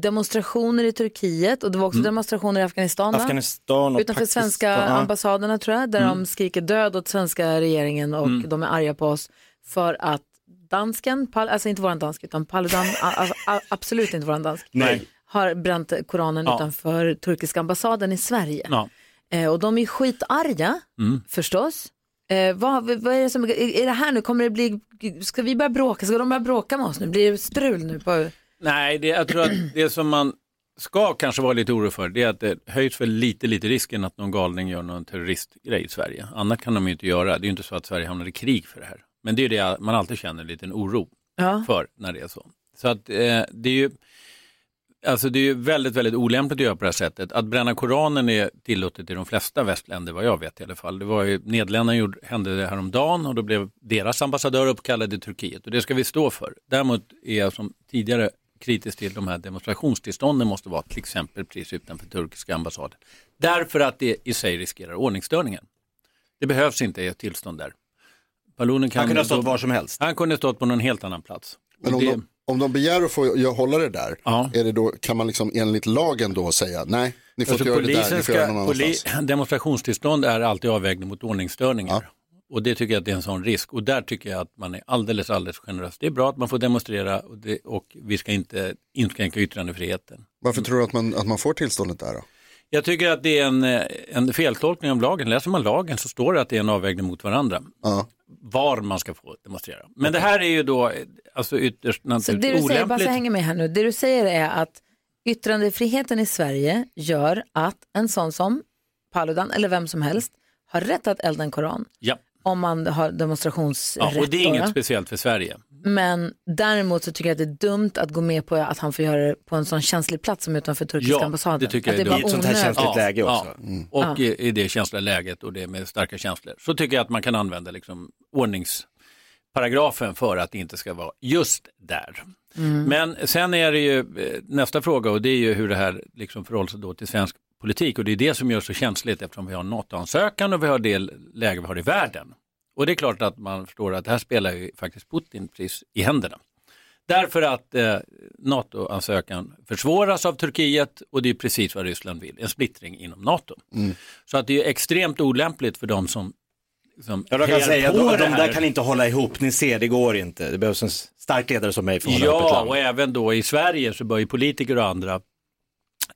Speaker 4: demonstrationer i Turkiet och det var också demonstrationer i Afghanistan. va?
Speaker 19: Afghanistan och
Speaker 4: Utanför
Speaker 19: Pakistan.
Speaker 4: svenska
Speaker 19: Ja.
Speaker 4: ambassaderna tror jag, där de skriker död åt svenska regeringen och
Speaker 19: Mm.
Speaker 4: de är arga på oss för att dansken, Pal, alltså inte våran dansk utan Paludan, a- alltså, a- absolut inte våran dansk,
Speaker 19: Nej.
Speaker 4: har bränt koranen
Speaker 19: Ja.
Speaker 4: utanför turkiska ambassaden i Sverige.
Speaker 11: Ja.
Speaker 4: Eh, och de är skitarga
Speaker 11: Mm.
Speaker 4: förstås. Eh, vad, vad är det som, är är det här nu, kommer det bli, ska vi börja bråka, ska de börja bråka med oss nu, blir det strul nu på
Speaker 11: Nej, det, jag tror att det som man ska kanske vara lite orolig för det är att det höjs väl lite, lite risken att någon galning gör någon terroristgrej i Sverige. Annat kan de ju inte göra. Det är ju inte så att Sverige hamnar i krig för det här. Men det är ju det man alltid känner en liten oro
Speaker 4: Ja.
Speaker 11: för när det är så. Så att eh, det är ju Alltså det är ju väldigt, väldigt olämpligt att göra på det här sättet. Att bränna Koranen är tillåtet i de flesta västländer, vad jag vet i alla fall. Det var ju, Nederländerna gjorde, hände det häromdagen och då blev deras ambassadör uppkallad i Turkiet och det ska vi stå för. Däremot är jag som tidigare kritisk till de här demonstrationstillstånden måste vara till exempel precis utanför turkiska ambassaden. Därför att det i sig riskerar ordningsstörningar. Det behövs inte ett tillstånd där. Palunen kan
Speaker 19: Han kunde ha stått var som
Speaker 11: helst. Han kunde ha stått på någon helt annan plats.
Speaker 7: Men
Speaker 11: Och
Speaker 7: om,
Speaker 11: det-
Speaker 7: de, om de begär att få jag hålla det där, är det då, kan man liksom enligt lagen då säga nej, ni får
Speaker 11: Alltså,
Speaker 7: inte göra det där,
Speaker 11: polisen
Speaker 7: ni får göra det någon
Speaker 11: ska-
Speaker 7: annanstans.
Speaker 11: poli- Demonstrationstillstånd är alltid avvägning mot ordningsstörningar. Och det tycker jag att det är en sån risk och där tycker jag att man är alldeles, alldeles generös. Det är bra att man får demonstrera och, det, och vi ska inte inskränka yttrandefriheten.
Speaker 7: Varför tror du att man, att man får tillståndet där då?
Speaker 11: Jag tycker att det är en, eh, en feltolkning av lagen. Läser man lagen så står det att det är en avvägning mot varandra.
Speaker 7: Ja.
Speaker 11: Var man ska få demonstrera. Men det här är ju då alltså ytterst
Speaker 4: Så det du säger,
Speaker 11: naturligtvis
Speaker 4: bara så jag
Speaker 11: olämpligt.
Speaker 4: hänger med här nu, det du säger är att yttrandefriheten i Sverige gör att en sån som Paludan eller vem som helst har rätt att elda en koran
Speaker 11: Ja.
Speaker 4: om man har demonstrationsrätt.
Speaker 11: ja, och det är
Speaker 4: då,
Speaker 11: inget
Speaker 4: va?
Speaker 11: speciellt för Sverige.
Speaker 4: Men däremot så tycker jag att det är dumt att gå med på att han får göra det på en sån känslig plats som utanför turkiska ambassaden.
Speaker 11: det tycker
Speaker 4: att
Speaker 11: jag
Speaker 4: bara
Speaker 11: är dumt.
Speaker 4: onödigt.
Speaker 11: Ja, Mm. Och i- i det känsliga läget och det med starka känslor så tycker jag att man kan använda liksom ordningsparagrafen för att det inte ska vara just där. Men sen är det ju eh, nästa fråga och det är ju hur det här liksom förhåller sig då till svensk politik och det är det som gör så känsligt eftersom vi har en NATO-ansökan och vi har det läge vi har i världen. Och det är klart att man förstår att det här spelar ju faktiskt Putin precis i händerna. Därför att eh, NATO-ansökan försvåras av Turkiet och det är precis vad Ryssland vill, en splittring inom NATO. Så att det är extremt olämpligt för de som liksom,
Speaker 19: Ja, de kan
Speaker 11: hejar
Speaker 19: säga
Speaker 11: på
Speaker 19: att
Speaker 11: det
Speaker 19: de
Speaker 11: här.
Speaker 19: där kan inte hålla ihop, ni ser det går inte. Det behövs en s- stark ledare som mig för att hålla ihop ett
Speaker 11: Ja,
Speaker 19: land.
Speaker 11: och även då i Sverige så bör ju politiker och andra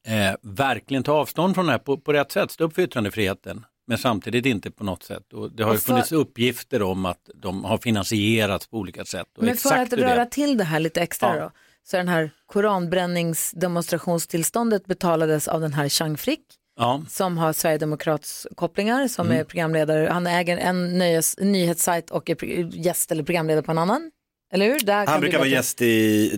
Speaker 11: eh, verkligen ta avstånd från det här på, på rätt sätt, stå upp för yttrandefriheten, men samtidigt inte på något sätt. Och det har ju
Speaker 4: Och för-
Speaker 11: funnits uppgifter om att de har finansierats på olika sätt. Och
Speaker 4: Men för
Speaker 11: exakt
Speaker 4: att
Speaker 11: hur det-
Speaker 4: röra till det här lite extra
Speaker 11: Ja.
Speaker 4: då, så den här koranbränningsdemonstrationstillståndet betalades av den här Chang Frick
Speaker 11: Ja.
Speaker 4: som har Sverigedemokratskopplingar som
Speaker 11: Mm.
Speaker 4: är programledare. Han äger en nöjes, nyhetssajt och är pro- gäst eller programledare på en annan. Eller hur? Där kan
Speaker 19: Han
Speaker 4: du
Speaker 19: brukar vara
Speaker 4: veta-
Speaker 19: gäst i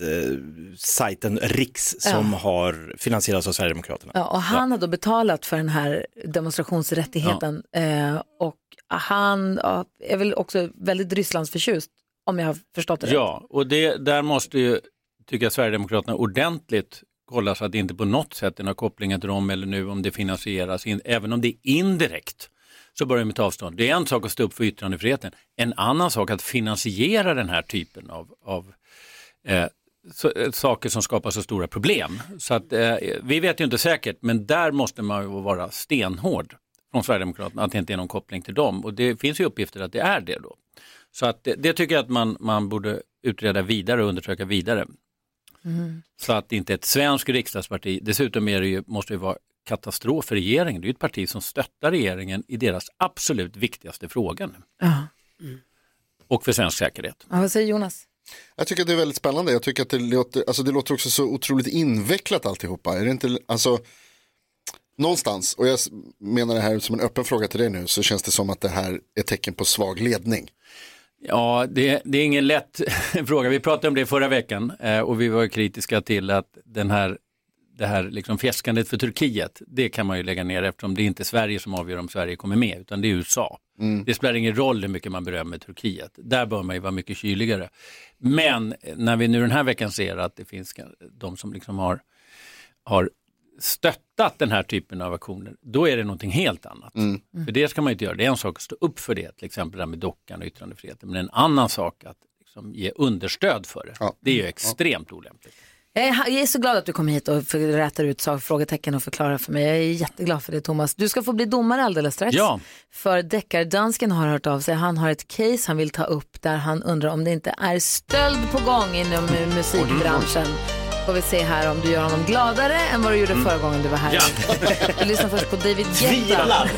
Speaker 5: eh,
Speaker 19: nätsajten Riks som
Speaker 4: Ja.
Speaker 19: har finansierats av Sverigedemokraterna.
Speaker 4: Ja, och han har då betalat för den här demonstrationsrättigheten eh, och han ja, är väl också väldigt Rysslandsförtjust om jag har förstått det rätt.
Speaker 11: Ja, och det, där måste ju, tycker jag, Sverigedemokraterna ordentligt kolla så att det inte på något sätt är några kopplingar till dem eller nu om det finansieras, in, även om det är indirekt så börjar de ta avstånd. Det är en sak att stå upp för yttrandefriheten, en annan sak att finansiera den här typen av, av eh, så, eh, saker som skapar så stora problem. Så att, eh, vi vet ju inte säkert, men där måste man ju vara stenhård från Sverigedemokraterna, att det inte är någon koppling till dem. Och det finns ju uppgifter att det är det då. Så att det, det tycker jag att man, man borde utreda vidare och undersöka vidare.
Speaker 4: Mm.
Speaker 11: Så att det inte är ett svenskt riksdagsparti. Dessutom är det ju, måste det ju vara katastrof för regeringen. Det är ju ett parti som stöttar regeringen i deras absolut viktigaste fråga nu.
Speaker 4: Ja.
Speaker 11: Och för svensk säkerhet.
Speaker 4: Ja, vad säger Jonas?
Speaker 7: Jag tycker att det är väldigt spännande. Jag tycker att det låter, alltså det låter också så otroligt invecklat alltihopa. Är det inte, alltså, någonstans, och jag s- menar det här som en öppen fråga till dig nu, så känns det som att det här är tecken på svag ledning.
Speaker 11: Ja, det, det är ingen lätt fråga. Vi pratade om det förra veckan eh, och vi var kritiska till att den här, det här liksom fjäskandet för Turkiet, det kan man ju lägga ner eftersom det är inte Sverige som avgör om Sverige kommer med, utan det är USA. Det spelar ingen roll hur mycket man berömmer Turkiet. Där bör man ju vara mycket kyligare. Men när vi nu den här veckan ser att det finns de som liksom har, har stöttat den här typen av aktioner, då är det någonting helt annat. För det ska man ju inte göra. Det är en sak att stå upp för det, till exempel det här med dockan och yttrandefriheten, men en annan sak att liksom ge understöd för det. Det är ju extremt olämpligt.
Speaker 4: Jag är, jag är så glad att du kom hit och för- rätar ut sak- frågetecken och förklarar för mig. Jag är jätteglad för det Thomas. Du ska få bli domare alldeles strax.
Speaker 11: Ja.
Speaker 4: För deckardansken har hört av sig. Han har ett case han vill ta upp där han undrar om det inte är stöld på gång inom eh, musikbranschen. Får vi se här om du gör honom gladare än vad du gjorde förra gången du var här. Vi lyssnar först på David Guetta.
Speaker 8: Tvivlar.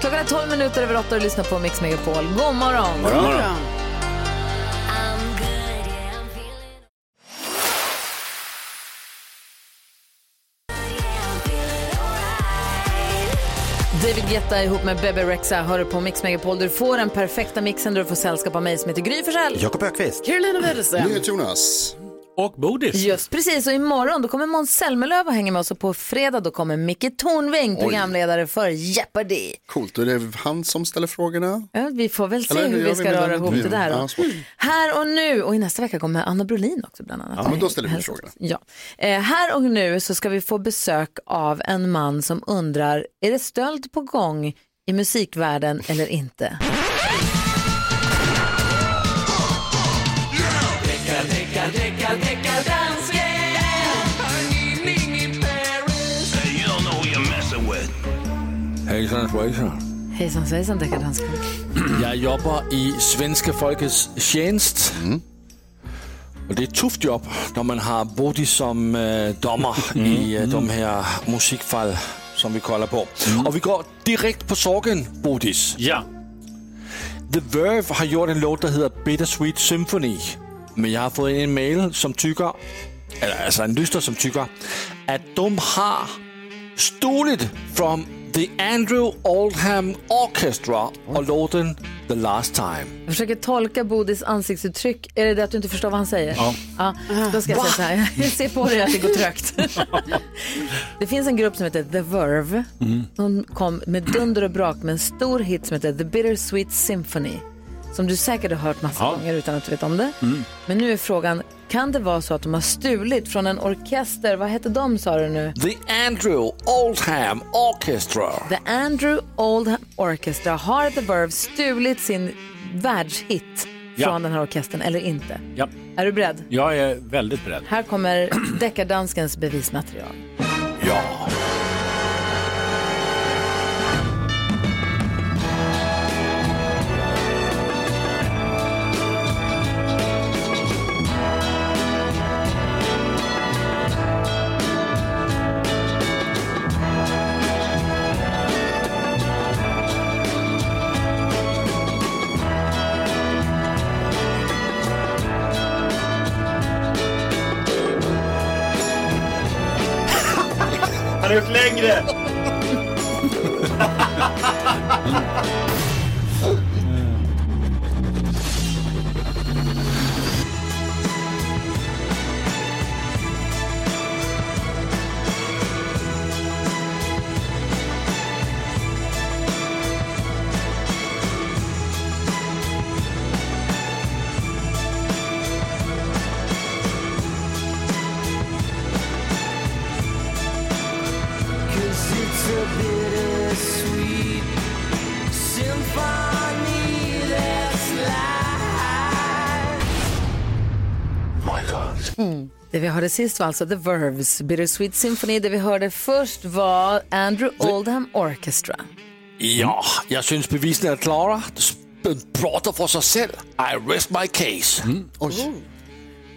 Speaker 4: Klockan är 12 minuter över 8 och du lyssnar på Mix Megapol. God morgon.
Speaker 8: God morgon.
Speaker 4: David Guetta ihop med Bebe Rexha hör du på Mix Megapol. Du får den perfekta mixen där du får sällskap av mig som heter Gry Forssell.
Speaker 19: Jakob Ökvist.
Speaker 4: Carolina Widerström.
Speaker 7: Jonas.
Speaker 11: Och Bodis.
Speaker 4: Just precis, och imorgon då kommer Måns Zelmerlöw och hänger med oss och på fredag då kommer Micke Tornving,
Speaker 7: Oj.
Speaker 4: programledare för Jeopardy.
Speaker 7: Coolt, och det är han som ställer frågorna.
Speaker 4: Ja, vi får väl se
Speaker 7: Eller
Speaker 4: hur
Speaker 7: gör
Speaker 4: vi
Speaker 7: vi
Speaker 4: ska
Speaker 7: med
Speaker 4: röra
Speaker 7: den?
Speaker 4: ihop det där.
Speaker 7: Ja,
Speaker 4: Då.
Speaker 7: svårt.
Speaker 4: här och nu, och i nästa vecka kommer Anna Brolin också bland annat.
Speaker 7: Ja, men då ställer vi frågorna.
Speaker 4: Ja. Eh, här och nu så ska vi få besök av en man som undrar, är det stöld på gång i musikvärlden eller inte?
Speaker 20: Hejsan svejsan.
Speaker 4: Hejsan svejsan deckardansken.
Speaker 11: Jeg jobber i svenska folkets tjenst. Og det er et tufft job, når man har Bodil som øh, dommer i øh, de her musikfald, som vi kolder på. Og vi går direkte på sorgen, Bodis.
Speaker 1: Ja.
Speaker 11: The Verve har gjort en låt, der hedder Bittersweet Symphony. Men jeg har fået en mail, som tykker, eller altså en lyster, som tykker, at de har stulet from The Andrew Oldham Orchestra og låten The Last Time.
Speaker 4: Jag försöker tolka Bodis ansiktsuttryck. Är det det att du inte förstår vad han säger?
Speaker 11: Ja.
Speaker 4: då ska jag säga så här. Jag ser på dig att det går trögt. det finns en grupp som heter The Verve. De kom med dunder och brak med en stor hit som heter The Bittersweet Symphony. Som du säkert har hört massa gånger utan att du vet om det. Men nu är frågan, kan det vara så att de har stulit från en orkester? Vad hette de sa du nu?
Speaker 11: The Andrew Oldham Orchestra.
Speaker 4: The Andrew Oldham Orchestra, har The Verve stulit sin världshit
Speaker 1: Ja.
Speaker 4: från den här orkestern eller inte?
Speaker 1: Ja.
Speaker 4: Är du beredd?
Speaker 1: Jag är väldigt beredd.
Speaker 4: Här kommer deckardanskens bevismaterial.
Speaker 11: Ja.
Speaker 5: Han har gjort längre!
Speaker 21: Cause it's a bittersweet symphony that's life.
Speaker 4: Mm. Det vi hörde sist var alltså The Verves Bittersweet Symphony. Det vi hörde först var Andrew Oldham Orchestra.
Speaker 11: Ja, jeg synes bevisene er klare. Prater for sig selv. I rest my case. Mm.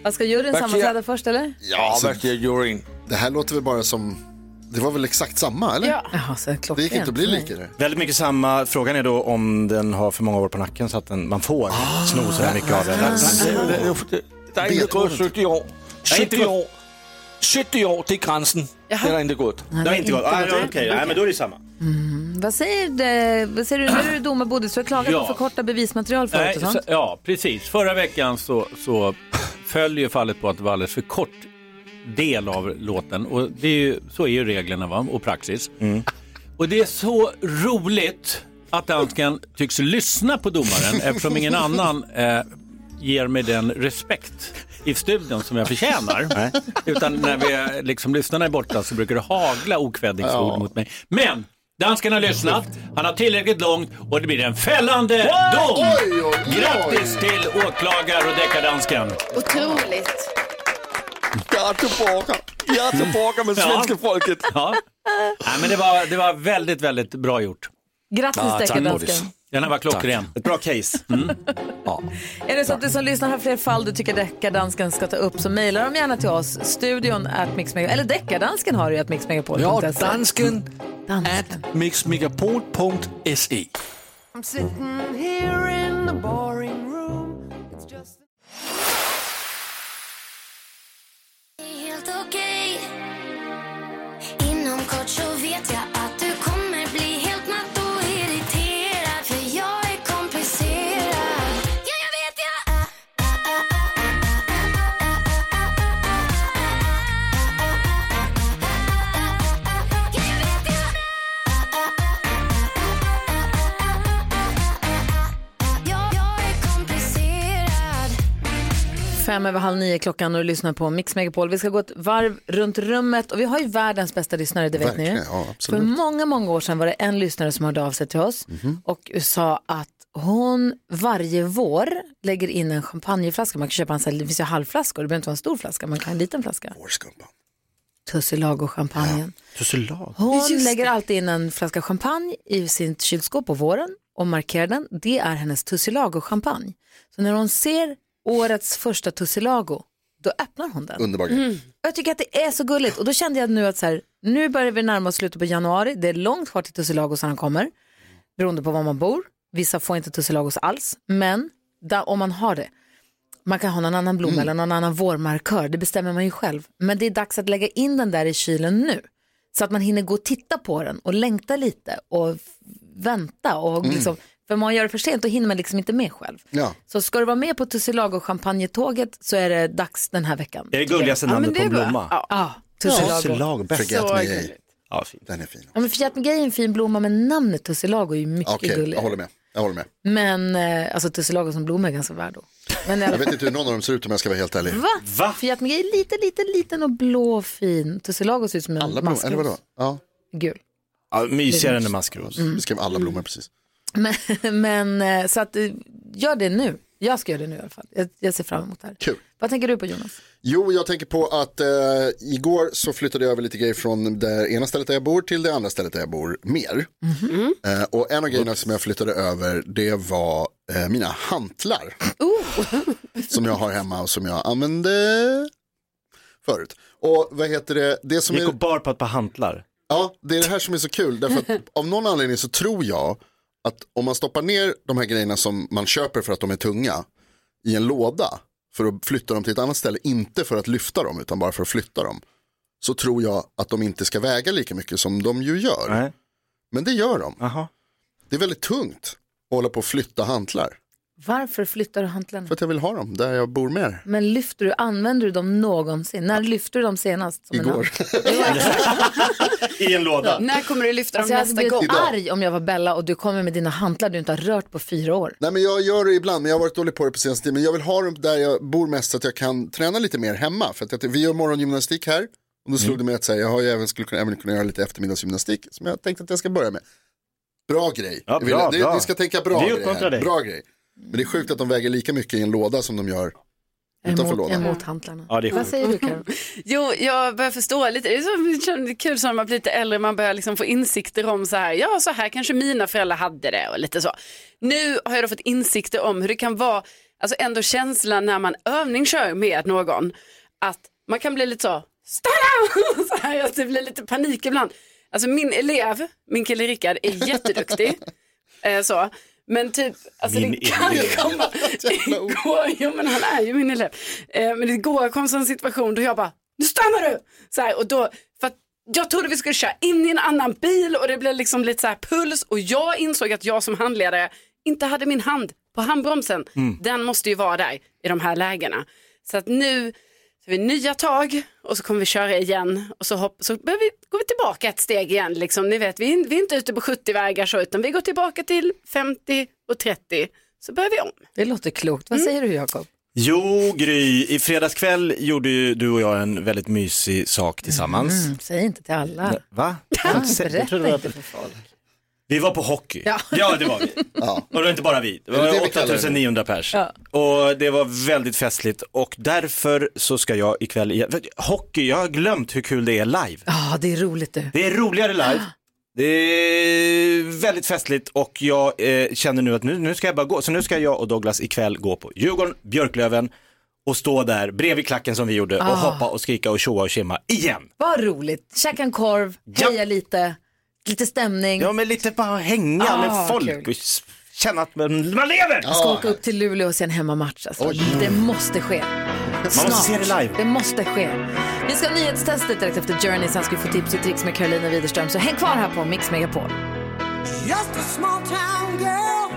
Speaker 4: Vad ska juryn
Speaker 11: Verkligen.
Speaker 4: sammansätta först eller?
Speaker 11: Ja,
Speaker 7: Alltså,
Speaker 11: hvad siger juryen?
Speaker 7: Det här låter väl bara som, det var väl exakt samma eller?
Speaker 4: Ja. så det
Speaker 7: gick inte att bli likare.
Speaker 5: Väldigt mycket samma. Frågan är då om den har för många år på nacken så att den, man får sno så här mycket av den.
Speaker 11: Der er ikke gået 70 år. 70 år. 70 år, det er grænsen. Det er der ikke gået.
Speaker 5: Det har inte gått. Ah, ja, Okej, Nej, men då är det samma.
Speaker 4: Mm. Vad, säger det? Vad säger du nu domar Bodil? Du har klagat
Speaker 1: Ja.
Speaker 4: på för korta bevismaterial förut
Speaker 1: Nej,
Speaker 4: och sånt.
Speaker 1: så, ja, precis. Förra veckan så, så föll ju fallet på att det var alldeles för kort del av låten. Och det är ju, så är ju reglerna va? och praxis. Och det är så roligt att dansken tycks lyssna på domaren eftersom ingen annan eh, ger mig den respekt i studion som jag förtjänar. Utan när vi, liksom, lyssnarna är borta så brukar det hagla okvädingsord
Speaker 5: Ja.
Speaker 1: mot mig. Men dansken har lyssnat, han har tillräckligt långt och det blir en fällande dom. Grattis till åklagare och deckardansken.
Speaker 22: Otroligt.
Speaker 11: Göteborgare. Göteborgare med svenska folket.
Speaker 1: Ja. Nej, men det, var, det var väldigt, väldigt bra gjort.
Speaker 4: Grattis, Ja, tack, deckardansken. Bodis.
Speaker 1: Den här var klockren.
Speaker 5: Ett bra case.
Speaker 4: Är det så att du som lyssnar har fler fall du tycker deckardansken ska ta upp så mejla dem gärna till oss. Studion at mixmegapol. Eller deckardansken har du ju at mixmegapol.
Speaker 11: Ja, dansken at mixmegapol.se.
Speaker 21: I'm sitting here in the boring room. It's just
Speaker 6: Helt okej Inom kort så vet jag att du kommer bli helt matt och irriterad För jag är komplicerad Ja, jag vet jag är Jag jag är komplicerad
Speaker 4: Fem över halv nio klockan och du lyssnar på Mix Megapol. Vi ska gå ett varv runt rummet och vi har ju världens bästa lyssnare, det vet
Speaker 7: Verkligen,
Speaker 4: ni ju.
Speaker 7: ja,
Speaker 4: För
Speaker 7: absolut.
Speaker 4: många, många år sedan var det en lyssnare som hörde av sig till oss
Speaker 7: Mhm.
Speaker 4: och sa att hon varje vår lägger in en champagneflaska. Man kan köpa en sån här, det finns ju halvflaskor, det behöver inte vara en stor flaska, man kan ha en liten flaska. Tussilago-champagnen.
Speaker 5: Tussilago?
Speaker 4: Hon lägger alltid in en flaska champagne i sitt kylskåp på våren och markerar den. Det är hennes Tussilago-champagne. Så när hon ser årets första Tussilago, då öppnar hon den.
Speaker 7: Underbar grej. Mm.
Speaker 4: Och Jag tycker att det är så gulligt och då kände jag nu att så här, nu börjar vi närma oss slutet på januari. Det är långt kvar till Tussilagos när han kommer, beroende på var man bor. Vissa får inte Tussilagos alls, men där, om man har det. Man kan ha någon annan blomma eller någon annan vårmarkör, det bestämmer man ju själv. Men det är dags att lägga in den där i kylen nu. Så att man hinner gå och titta på den och längta lite och f- vänta. Och liksom, För om man gör det för sent då hinner man liksom inte med själv.
Speaker 7: Ja.
Speaker 4: Så ska du vara med på Tussilago-champagnetåget så är det dags den här veckan.
Speaker 5: Det är det gulligaste namnet på en blomma.
Speaker 4: Ja, Tussilago.
Speaker 5: Tussilago, bäst.
Speaker 7: Forget
Speaker 4: Så
Speaker 7: me
Speaker 4: gulligt.
Speaker 7: gay.
Speaker 5: Ja, fint.
Speaker 7: Den är fin.
Speaker 4: Ja, men Fiat Gay är en fin blomma men namnet Tussilago är ju mycket
Speaker 7: Okej, jag
Speaker 4: gulligt.
Speaker 7: håller med. Jag håller med.
Speaker 4: Men eh, alltså Tussilago som blomma är ganska värd då. Men i alla
Speaker 7: Jag vet inte hur någon av dem ser ut om jag ska vara helt ärlig.
Speaker 4: Va? Fiat Gay är lite, lite, liten och blå och fin. Tussilago ser ut som en
Speaker 7: Alla blommor,
Speaker 4: maskros.
Speaker 7: eller vadå? Ja.
Speaker 4: Gul.
Speaker 5: Ja, mysigare än en maskros.
Speaker 7: Mm. Beskrev alla blommor precis.
Speaker 4: Men, men eh, så att eh, gör det nu. Jag ska göra det nu i alla fall. Jag, jag ser fram emot det här.
Speaker 7: Kul.
Speaker 4: Vad tänker du på Jonas?
Speaker 7: Jo, jag tänker på att eh, igår så flyttade jag över lite grejer från det ena stället där jag bor till det andra stället där jag bor mer. Eh, och en av grejerna som jag flyttade över det var eh, mina hantlar. som jag har hemma och som jag använde förut. Och vad heter det, det som
Speaker 5: Gick
Speaker 7: är...
Speaker 5: och bar på ett par hantlar.
Speaker 7: Ja, det är det här som är så kul. Därför att av någon anledning så tror jag att om man stoppar ner de här grejerna som man köper för att de är tunga i en låda för att flytta dem till ett annat ställe, inte för att lyfta dem utan bara för att flytta dem, så tror jag att de inte ska väga lika mycket som de ju gör.
Speaker 5: Nej.
Speaker 7: Men det gör de. Det är väldigt tungt att hålla på och flytta hantlar.
Speaker 4: Varför flyttar du hantlarna?
Speaker 7: För att jag vill ha dem där jag bor mer.
Speaker 4: Men lyfter du, använder du dem någonsin? När lyfte du dem senast? som en
Speaker 7: Igår.
Speaker 5: I en
Speaker 4: hand?
Speaker 5: låda.
Speaker 6: När kommer du lyfta dem
Speaker 4: Alltså, jag hade
Speaker 6: nästa
Speaker 4: blivit
Speaker 6: gång?
Speaker 4: arg om jag var Bella och du kommer med dina hantlar du inte har rört på fyra år.
Speaker 7: Nej men jag gör det ibland, men jag har varit dålig på det på senaste tiden. Men jag vill ha dem där jag bor mest så att jag kan träna lite mer hemma. För att jag, vi gör morgongymnastik här. Och då
Speaker 5: Mm.
Speaker 7: slog det mig att så här, jag har ju även, skulle kunna, även kunna göra lite eftermiddagsgymnastik. Som jag tänkte att jag ska börja med. Bra grej.
Speaker 5: Ja,
Speaker 7: Jag vill-
Speaker 5: bra,
Speaker 7: det,
Speaker 5: bra.
Speaker 7: Vi ska tänka bra
Speaker 5: Vi
Speaker 7: grej
Speaker 5: uppmuntrar
Speaker 7: här.
Speaker 5: dig.
Speaker 7: Bra grej. Men det är sjukt att de väger lika mycket i en låda som de gör utanför
Speaker 4: Emot,
Speaker 7: lådan.
Speaker 4: emot hantlarna.
Speaker 5: Ja, det är
Speaker 4: Vad
Speaker 5: sjukt.
Speaker 4: säger du Karo?
Speaker 6: Jo, jag börjar förstå lite. Det är så- det känns kul som man blir lite äldre, man börjar liksom få insikter om så här, ja så här kanske mina föräldrar hade det och lite så. Nu har jag då fått insikter om hur det kan vara, alltså ändå känslan när man övningskör med någon, att man kan bli lite så, stanna! Så här, att det blir lite panik ibland. Alltså min elev, min kille Rickard, är jätteduktig. eh, så. Men typ, alltså
Speaker 5: Min
Speaker 6: det kan
Speaker 5: elev.
Speaker 6: komma, igår, jo men han är ju min elev. Eh, men igår kom så en situation då jag bara, nu stannar du! Så här, och då, för att jag trodde vi skulle köra in i en annan bil och det blev liksom lite så här puls och jag insåg att jag som handledare inte hade min hand på handbromsen.
Speaker 5: Mm.
Speaker 6: Den måste ju vara där i de här lägena. Så att nu tar vi nya tag och så kommer vi köra igen och så, hopp, så börjar vi, går vi tillbaka ett steg igen. Liksom. Ni vet, vi, är in- vi är inte ute på 70-vägar så utan vi går tillbaka till 50 och 30 så börjar vi om.
Speaker 4: Det låter klokt. Vad säger du Jakob?
Speaker 5: Jo, Gry, i fredagskväll gjorde ju du och jag en väldigt mysig sak tillsammans.
Speaker 4: Mm, säg inte till alla.
Speaker 5: Va? Jag
Speaker 4: Berätta
Speaker 5: trodde det var-
Speaker 4: inte för folk.
Speaker 5: Vi var på hockey.
Speaker 4: Ja.
Speaker 5: Ja, det var vi. Och det var inte bara vi. Det
Speaker 7: Är det det
Speaker 5: var
Speaker 7: vi kallar det?
Speaker 5: 8900 pers. Och det var väldigt festligt och därför så ska jag ikväll igen. för Hockey, jag har glömt hur kul det är live.
Speaker 4: Ja, det är roligt du.
Speaker 5: Det är roligare live.
Speaker 7: Ah.
Speaker 5: Det är väldigt festligt och jag eh, känner nu att nu, nu ska jag bara gå. Så nu ska jag och Douglas ikväll gå på Djurgården, Björklöven och stå där bredvid klacken som vi gjorde och
Speaker 4: Ah.
Speaker 5: hoppa och skrika och tjoa och tjimma igen.
Speaker 4: Vad roligt. Käka en korv,
Speaker 5: Ja.
Speaker 4: heja lite, lite stämning.
Speaker 5: Ja men lite bara hänga
Speaker 4: Ah,
Speaker 5: med folk
Speaker 4: kul.
Speaker 5: och s- känna att man, man lever.
Speaker 4: Jag ska åka upp till Luleå och se en hemmamatch. Alltså. Det måste ske.
Speaker 5: Man måste se det live.
Speaker 4: Det måste ske. Vi ska ha nyhetstestet direkt efter Journey, sen ska vi få tips och tricks med Carolina Widerström. Så häng kvar här på Mix Megapol.
Speaker 11: Just a small town girl.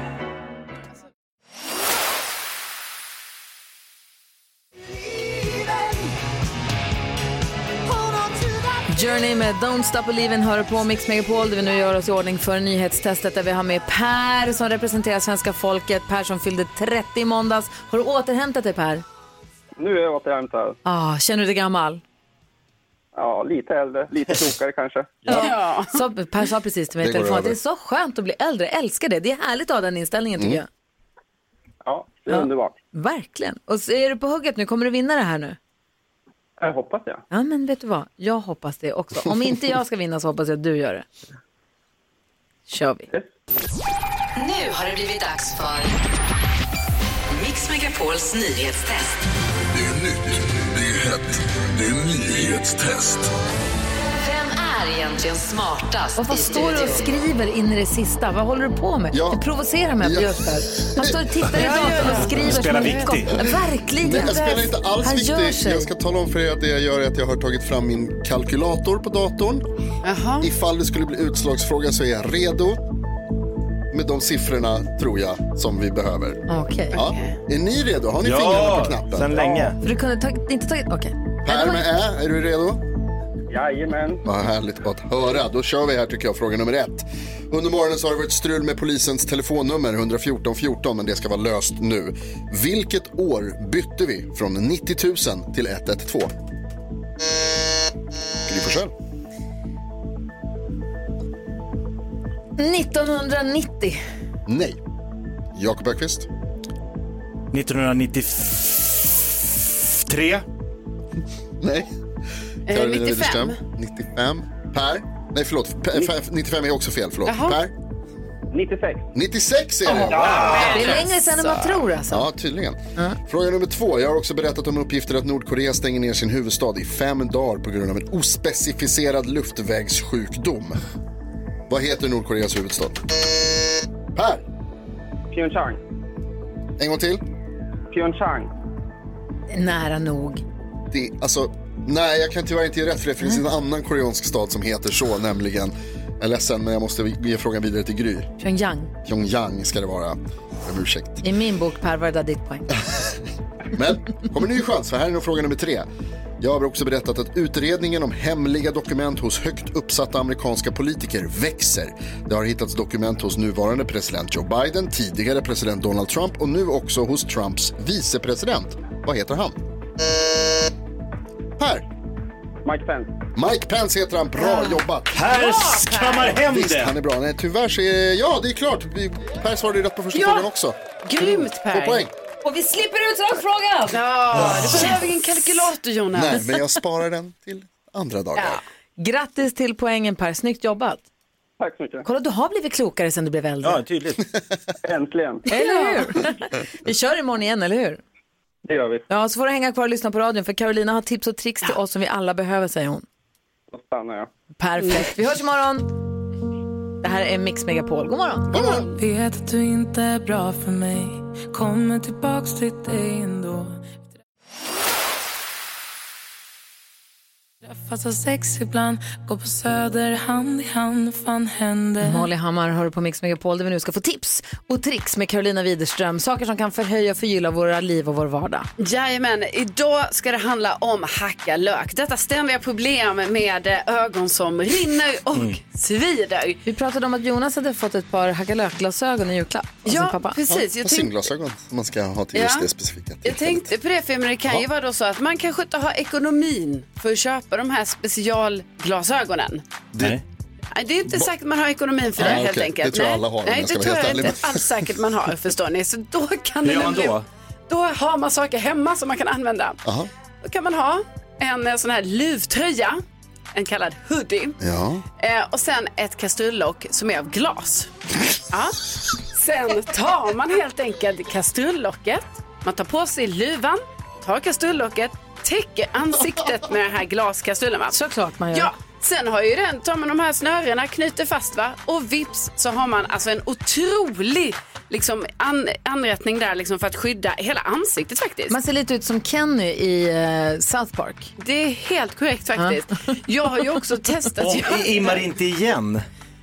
Speaker 4: Journey med Don't Stop Believin' hör på Mix Megapol där vi nu gör oss i ordning för nyhetstestet där vi har med Per som representerar svenska folket. Per som fyllde 30 i måndags. Har du återhämtat dig Per?
Speaker 3: Nu är jag återhämtad.
Speaker 4: Ah, känner du dig gammal?
Speaker 3: Ja, lite äldre, lite klokare kanske.
Speaker 4: Ja. Så, per sa precis till mig i
Speaker 3: Det går
Speaker 4: telefon att det är
Speaker 3: över.
Speaker 4: så skönt att bli äldre. Jag älskar det. Det är härligt att ha den inställningen tycker
Speaker 3: Mm.
Speaker 4: jag.
Speaker 3: Ja, det är underbart.
Speaker 4: Verkligen. Och så är du på hugget nu? Kommer du vinna det här nu?
Speaker 3: Jag hoppas det.
Speaker 4: Ja, men vet du vad? Jag hoppas det också. Om inte jag ska vinna så hoppas jag att du gör det. Kör vi.
Speaker 8: Nu har det blivit dags för Mix Megapols nyhetstest.
Speaker 18: Det är nytt, det är hett, det är nyhetstest.
Speaker 8: Vem är egentligen smartast
Speaker 4: Och vad
Speaker 8: i
Speaker 4: står du och
Speaker 8: studion?
Speaker 4: skriver in i det sista? Vad håller du på med? Du provocerar mig,
Speaker 8: Ja.
Speaker 4: Björkberg. Han står och tittar i
Speaker 8: Ja, ja,
Speaker 4: datorn
Speaker 8: ja.
Speaker 4: och skriver
Speaker 7: Spelar
Speaker 4: som en
Speaker 7: viktig.
Speaker 4: gott- Verkligen.
Speaker 7: Nej, jag spelar inte alls
Speaker 4: Han gör
Speaker 7: viktig.
Speaker 4: sig.
Speaker 7: Jag ska tala om för er att det jag gör är att jag har tagit fram min kalkylator på datorn. Ifall det skulle bli utslagsfråga så är jag redo med de siffrorna, tror jag, som vi behöver.
Speaker 4: Okej.
Speaker 7: Ja. Är ni redo? Har ni
Speaker 19: Ja,
Speaker 7: fingrarna på knappen?
Speaker 19: sedan länge.
Speaker 4: För du kunde tagit, inte tagit... Okej.
Speaker 7: Per med Ä, är du redo?
Speaker 3: Jajamän.
Speaker 7: Vad härligt att höra. Då kör vi här tycker jag, fråga nummer ett. Under morgonen så har det varit strul med polisens telefonnummer 114 14, men det ska vara löst nu. Vilket år bytte vi från 90 000 till 112? Gry Forssell.
Speaker 4: 1990.
Speaker 7: Nej. Jakob Öqvist.
Speaker 19: 1993.
Speaker 7: Nej.
Speaker 19: Eh,
Speaker 7: Karolina
Speaker 19: 95.
Speaker 7: Widerström. 95. Per. Nej, förlåt. Per, per- 95 är också fel. Förlåt.
Speaker 4: Jaha.
Speaker 7: Per.
Speaker 3: 96.
Speaker 7: 96 är det.
Speaker 4: Åh, wow. Det är längre sedan än man tror, alltså.
Speaker 7: Ja, tydligen. Fråga nummer två. Jag har också berättat om uppgifter att Nordkorea stänger ner sin huvudstad i fem dagar på grund av en ospecificerad luftvägssjukdom. Vad heter Nordkoreas huvudstad? Per.
Speaker 3: Pyeongchang.
Speaker 7: En gång till.
Speaker 3: Pyeongchang.
Speaker 4: Nära nog.
Speaker 7: Det, alltså, nej, jag kan tyvärr inte ge rätt för det. för Det finns en annan koreansk stad som heter så, nämligen. Jag är ledsen, men jag måste ge frågan vidare till Gry.
Speaker 4: Pyongyang.
Speaker 7: Pyongyang ska det vara. Jag ber om ursäkt.
Speaker 4: I min bok, Per, var det där ditt poäng?
Speaker 7: Men kommer ny chans, för här är nog fråga nummer tre. Jag har också berättat att utredningen om hemliga dokument hos högt uppsatta amerikanska politiker växer. Det har hittats dokument hos nuvarande president Joe Biden, tidigare president Donald Trump och nu också hos Trumps vicepresident. Vad heter han? Per.
Speaker 3: Mike Pence.
Speaker 7: Mike Pence heter han. Bra jobbat!
Speaker 19: Per skammar hem
Speaker 7: Visst,
Speaker 19: det.
Speaker 7: han är bra. Nej, tyvärr så är... Ja, det är klart. Vi- Per svarade ju rätt på första
Speaker 6: Ja.
Speaker 7: frågan också.
Speaker 6: Grymt Per!
Speaker 7: Två poäng.
Speaker 4: Och vi slipper utslagsfrågan!
Speaker 6: Ja, du behöver ingen kalkylator Jonas.
Speaker 7: Ah. Nej, men jag sparar den till andra dagar.
Speaker 4: Grattis till poängen, Per. Snyggt jobbat.
Speaker 3: Tack så mycket.
Speaker 4: Kolla, du har blivit klokare sedan du blev äldre.
Speaker 19: tydligt.
Speaker 3: Äntligen.
Speaker 4: Eller hur? vi kör imorgon igen, eller hur?
Speaker 3: Det gör vi.
Speaker 4: Ja, så får du hänga kvar och lyssna på radion, för Carolina har tips och tricks till oss som vi alla behöver, säger hon.
Speaker 3: Då stannar jag.
Speaker 4: Perfekt. Vi hörs imorgon. Det här är Mix Megapol. God morgon. God morgon.
Speaker 9: Vet att du inte är bra för mig Kommer tillbaks till dig ändå Träffas av sex ibland Går på söder hand i hand Vad fan händer?
Speaker 4: Molly Hammar hör på Mix Megapol där vi nu ska få tips och tricks med Carolina Widerström. Saker som kan förhöja och förgylla våra liv och vår vardag.
Speaker 6: Jajamän, idag ska det handla om hacka lök. Detta ständiga problem med eh, ögon som rinner och
Speaker 7: Mm.
Speaker 6: svider.
Speaker 7: Alltså,
Speaker 4: Vi pratade om att Jonas hade fått ett par hacka lök-glasögon i julklapp av
Speaker 6: Ja,
Speaker 4: sin pappa.
Speaker 6: precis. Jag
Speaker 7: Och
Speaker 6: tänkte-
Speaker 7: simglasögon som man ska ha till just
Speaker 6: Ja.
Speaker 7: det specifika.
Speaker 6: Jag tänkte på det, för men det kan ju
Speaker 7: Ja.
Speaker 6: vara då så att man kanske inte har ekonomin för att köpa de här specialglasögonen.
Speaker 7: Det,
Speaker 6: Nej, Det är inte säkert man har ekonomin för det
Speaker 7: Nej,
Speaker 6: helt
Speaker 7: okej.
Speaker 6: enkelt.
Speaker 7: Det tror jag
Speaker 6: Nej.
Speaker 7: alla har, om
Speaker 6: Nej,
Speaker 7: jag ska
Speaker 6: det
Speaker 7: vara
Speaker 6: tror
Speaker 7: helt
Speaker 6: jag
Speaker 7: ärlig.
Speaker 6: inte alls säkert man har, förstår ni. Så då kan
Speaker 19: Hur
Speaker 6: det
Speaker 19: gör man
Speaker 6: nämligen-
Speaker 19: då?
Speaker 6: Då har man saker hemma som man kan använda.
Speaker 7: Aha.
Speaker 6: Då kan man ha en eh, sån här luvtröja, en kallad hoodie.
Speaker 7: Ja.
Speaker 6: Eh, och sen ett kastrullock som är av glas. Ja. Sen tar man helt enkelt kastrullocket, man tar på sig luvan, tar kastrullocket, täcker ansiktet med den här glaskastrullen. Va?
Speaker 4: Såklart man gör.
Speaker 6: Ja. Sen har ju den, tar man de här snörena, knyter fast va? och vips så har man alltså en otrolig liksom, an- anrättning där liksom, för att skydda hela ansiktet faktiskt.
Speaker 4: Man ser lite ut som Kenny i eh, South Park.
Speaker 6: Det är helt korrekt faktiskt. Jag har ju också testat.
Speaker 19: Och
Speaker 6: göra-
Speaker 19: immar inte igen.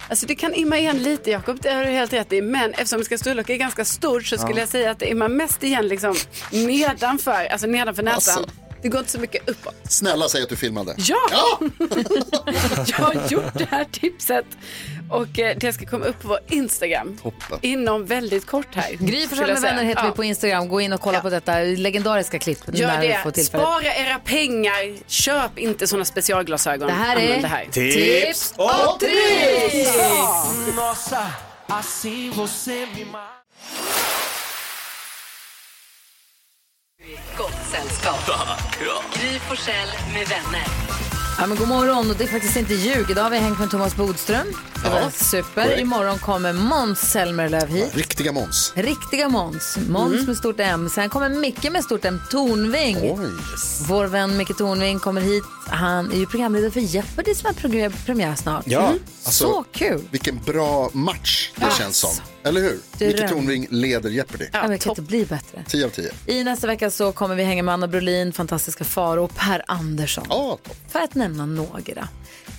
Speaker 6: Alltså det kan imma igen lite Jakob, det har du helt rätt i. Men eftersom kastrullock är ganska stort så skulle
Speaker 19: Ja.
Speaker 6: jag säga att det immar mest igen liksom nedanför, alltså nedanför näsan.
Speaker 7: Alltså.
Speaker 6: Det går inte så mycket uppåt.
Speaker 7: Snälla säg att du filmade.
Speaker 6: Ja! jag har gjort det här tipset och eh, det ska komma upp på vår Instagram.
Speaker 7: Toppen.
Speaker 6: Inom väldigt kort här.
Speaker 4: Gry
Speaker 6: skulle
Speaker 4: Forssell
Speaker 6: jag
Speaker 4: med
Speaker 6: säga.
Speaker 4: vänner heter
Speaker 6: Ja.
Speaker 4: vi på Instagram. Gå in och kolla på detta legendariska klipp när vi
Speaker 6: Gör
Speaker 4: får
Speaker 6: det.
Speaker 4: tillfälle.
Speaker 6: Spara era pengar. Köp inte såna specialglasögon.
Speaker 4: Det här är
Speaker 6: Använd det här.
Speaker 4: Tips och tricks!
Speaker 23: Nossa, assim você me mata.
Speaker 8: Gott
Speaker 24: sällskap. Gry Forssell med vänner.
Speaker 4: Ja, men god morgon, och det är faktiskt inte ljug. Idag har vi hängt med Thomas Bodström. Det var
Speaker 7: Ja,
Speaker 4: super.
Speaker 7: korrekt.
Speaker 4: Imorgon kommer Måns Zelmerlöw hit.
Speaker 7: Riktiga Måns.
Speaker 4: Riktiga Måns. Måns
Speaker 7: Mm.
Speaker 4: med stort M. Sen kommer Micke med stort M. Tornving. Vår vän Micke Tornving kommer hit. Han är ju programledare för Jeopardy som har prog- premiär snart. Mm. Så kul.
Speaker 7: Alltså, Vilken bra match det
Speaker 4: Ja.
Speaker 7: känns som. Eller hur?
Speaker 4: Dröm.
Speaker 7: Micke Tornving leder Jeopardy.
Speaker 4: Ja, men det kan inte bli bättre.
Speaker 7: 10 av 10.
Speaker 4: I nästa vecka så kommer vi hänga med Anna Brolin, fantastiska Faro och Per Andersson. För att nämna några.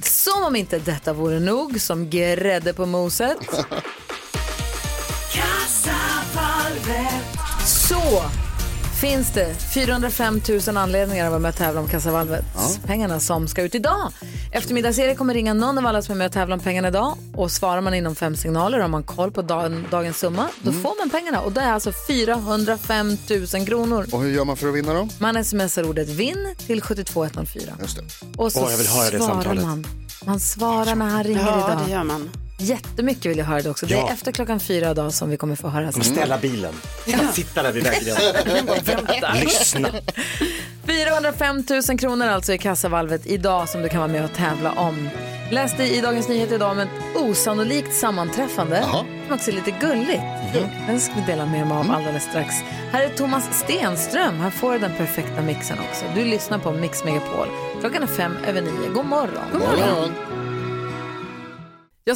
Speaker 4: Som om inte detta vore nog, som grädde på moset. så finns det 405 000 anledningar att vara med och tävla om kassavalvet. Pengarna som ska ut idag. Eftermiddags-Erik kommer ringa någon av alla som är med och tävlar om pengarna idag. Och svarar man inom fem signaler och har man koll på dagen, dagens summa, då
Speaker 7: Mm.
Speaker 4: får man pengarna. Och det är alltså 405 000 kronor.
Speaker 7: Och hur gör man för att vinna dem?
Speaker 4: Man smsar ordet vinn till 72104.
Speaker 7: Just det.
Speaker 4: Och så
Speaker 7: Åh, jag vill höra det
Speaker 4: svarar
Speaker 7: samtalet.
Speaker 4: man. Man svarar när han ringer
Speaker 6: Ja,
Speaker 4: idag.
Speaker 6: det gör man.
Speaker 4: Jättemycket vill jag höra det också. Det
Speaker 5: Ja.
Speaker 4: är efter klockan fyra idag som vi kommer få höra.
Speaker 7: Mm.
Speaker 5: Kommer ställa bilen. Bara Sitta där vid väggrenen. Lyssna.
Speaker 4: 405 000 kronor alltså i kassavalvet idag som du kan vara med och tävla om. Läste i Dagens Nyheter idag om ett osannolikt sammanträffande. Som också är lite gulligt.
Speaker 7: Mhm.
Speaker 4: Den ska vi dela med mig
Speaker 7: Mm.
Speaker 4: av alldeles strax. Här är Thomas Stenström. Han får den perfekta mixen också. Du lyssnar på Mix Megapol. Klockan är fem över nio. God morgon.
Speaker 7: God morgon.
Speaker 4: Ja,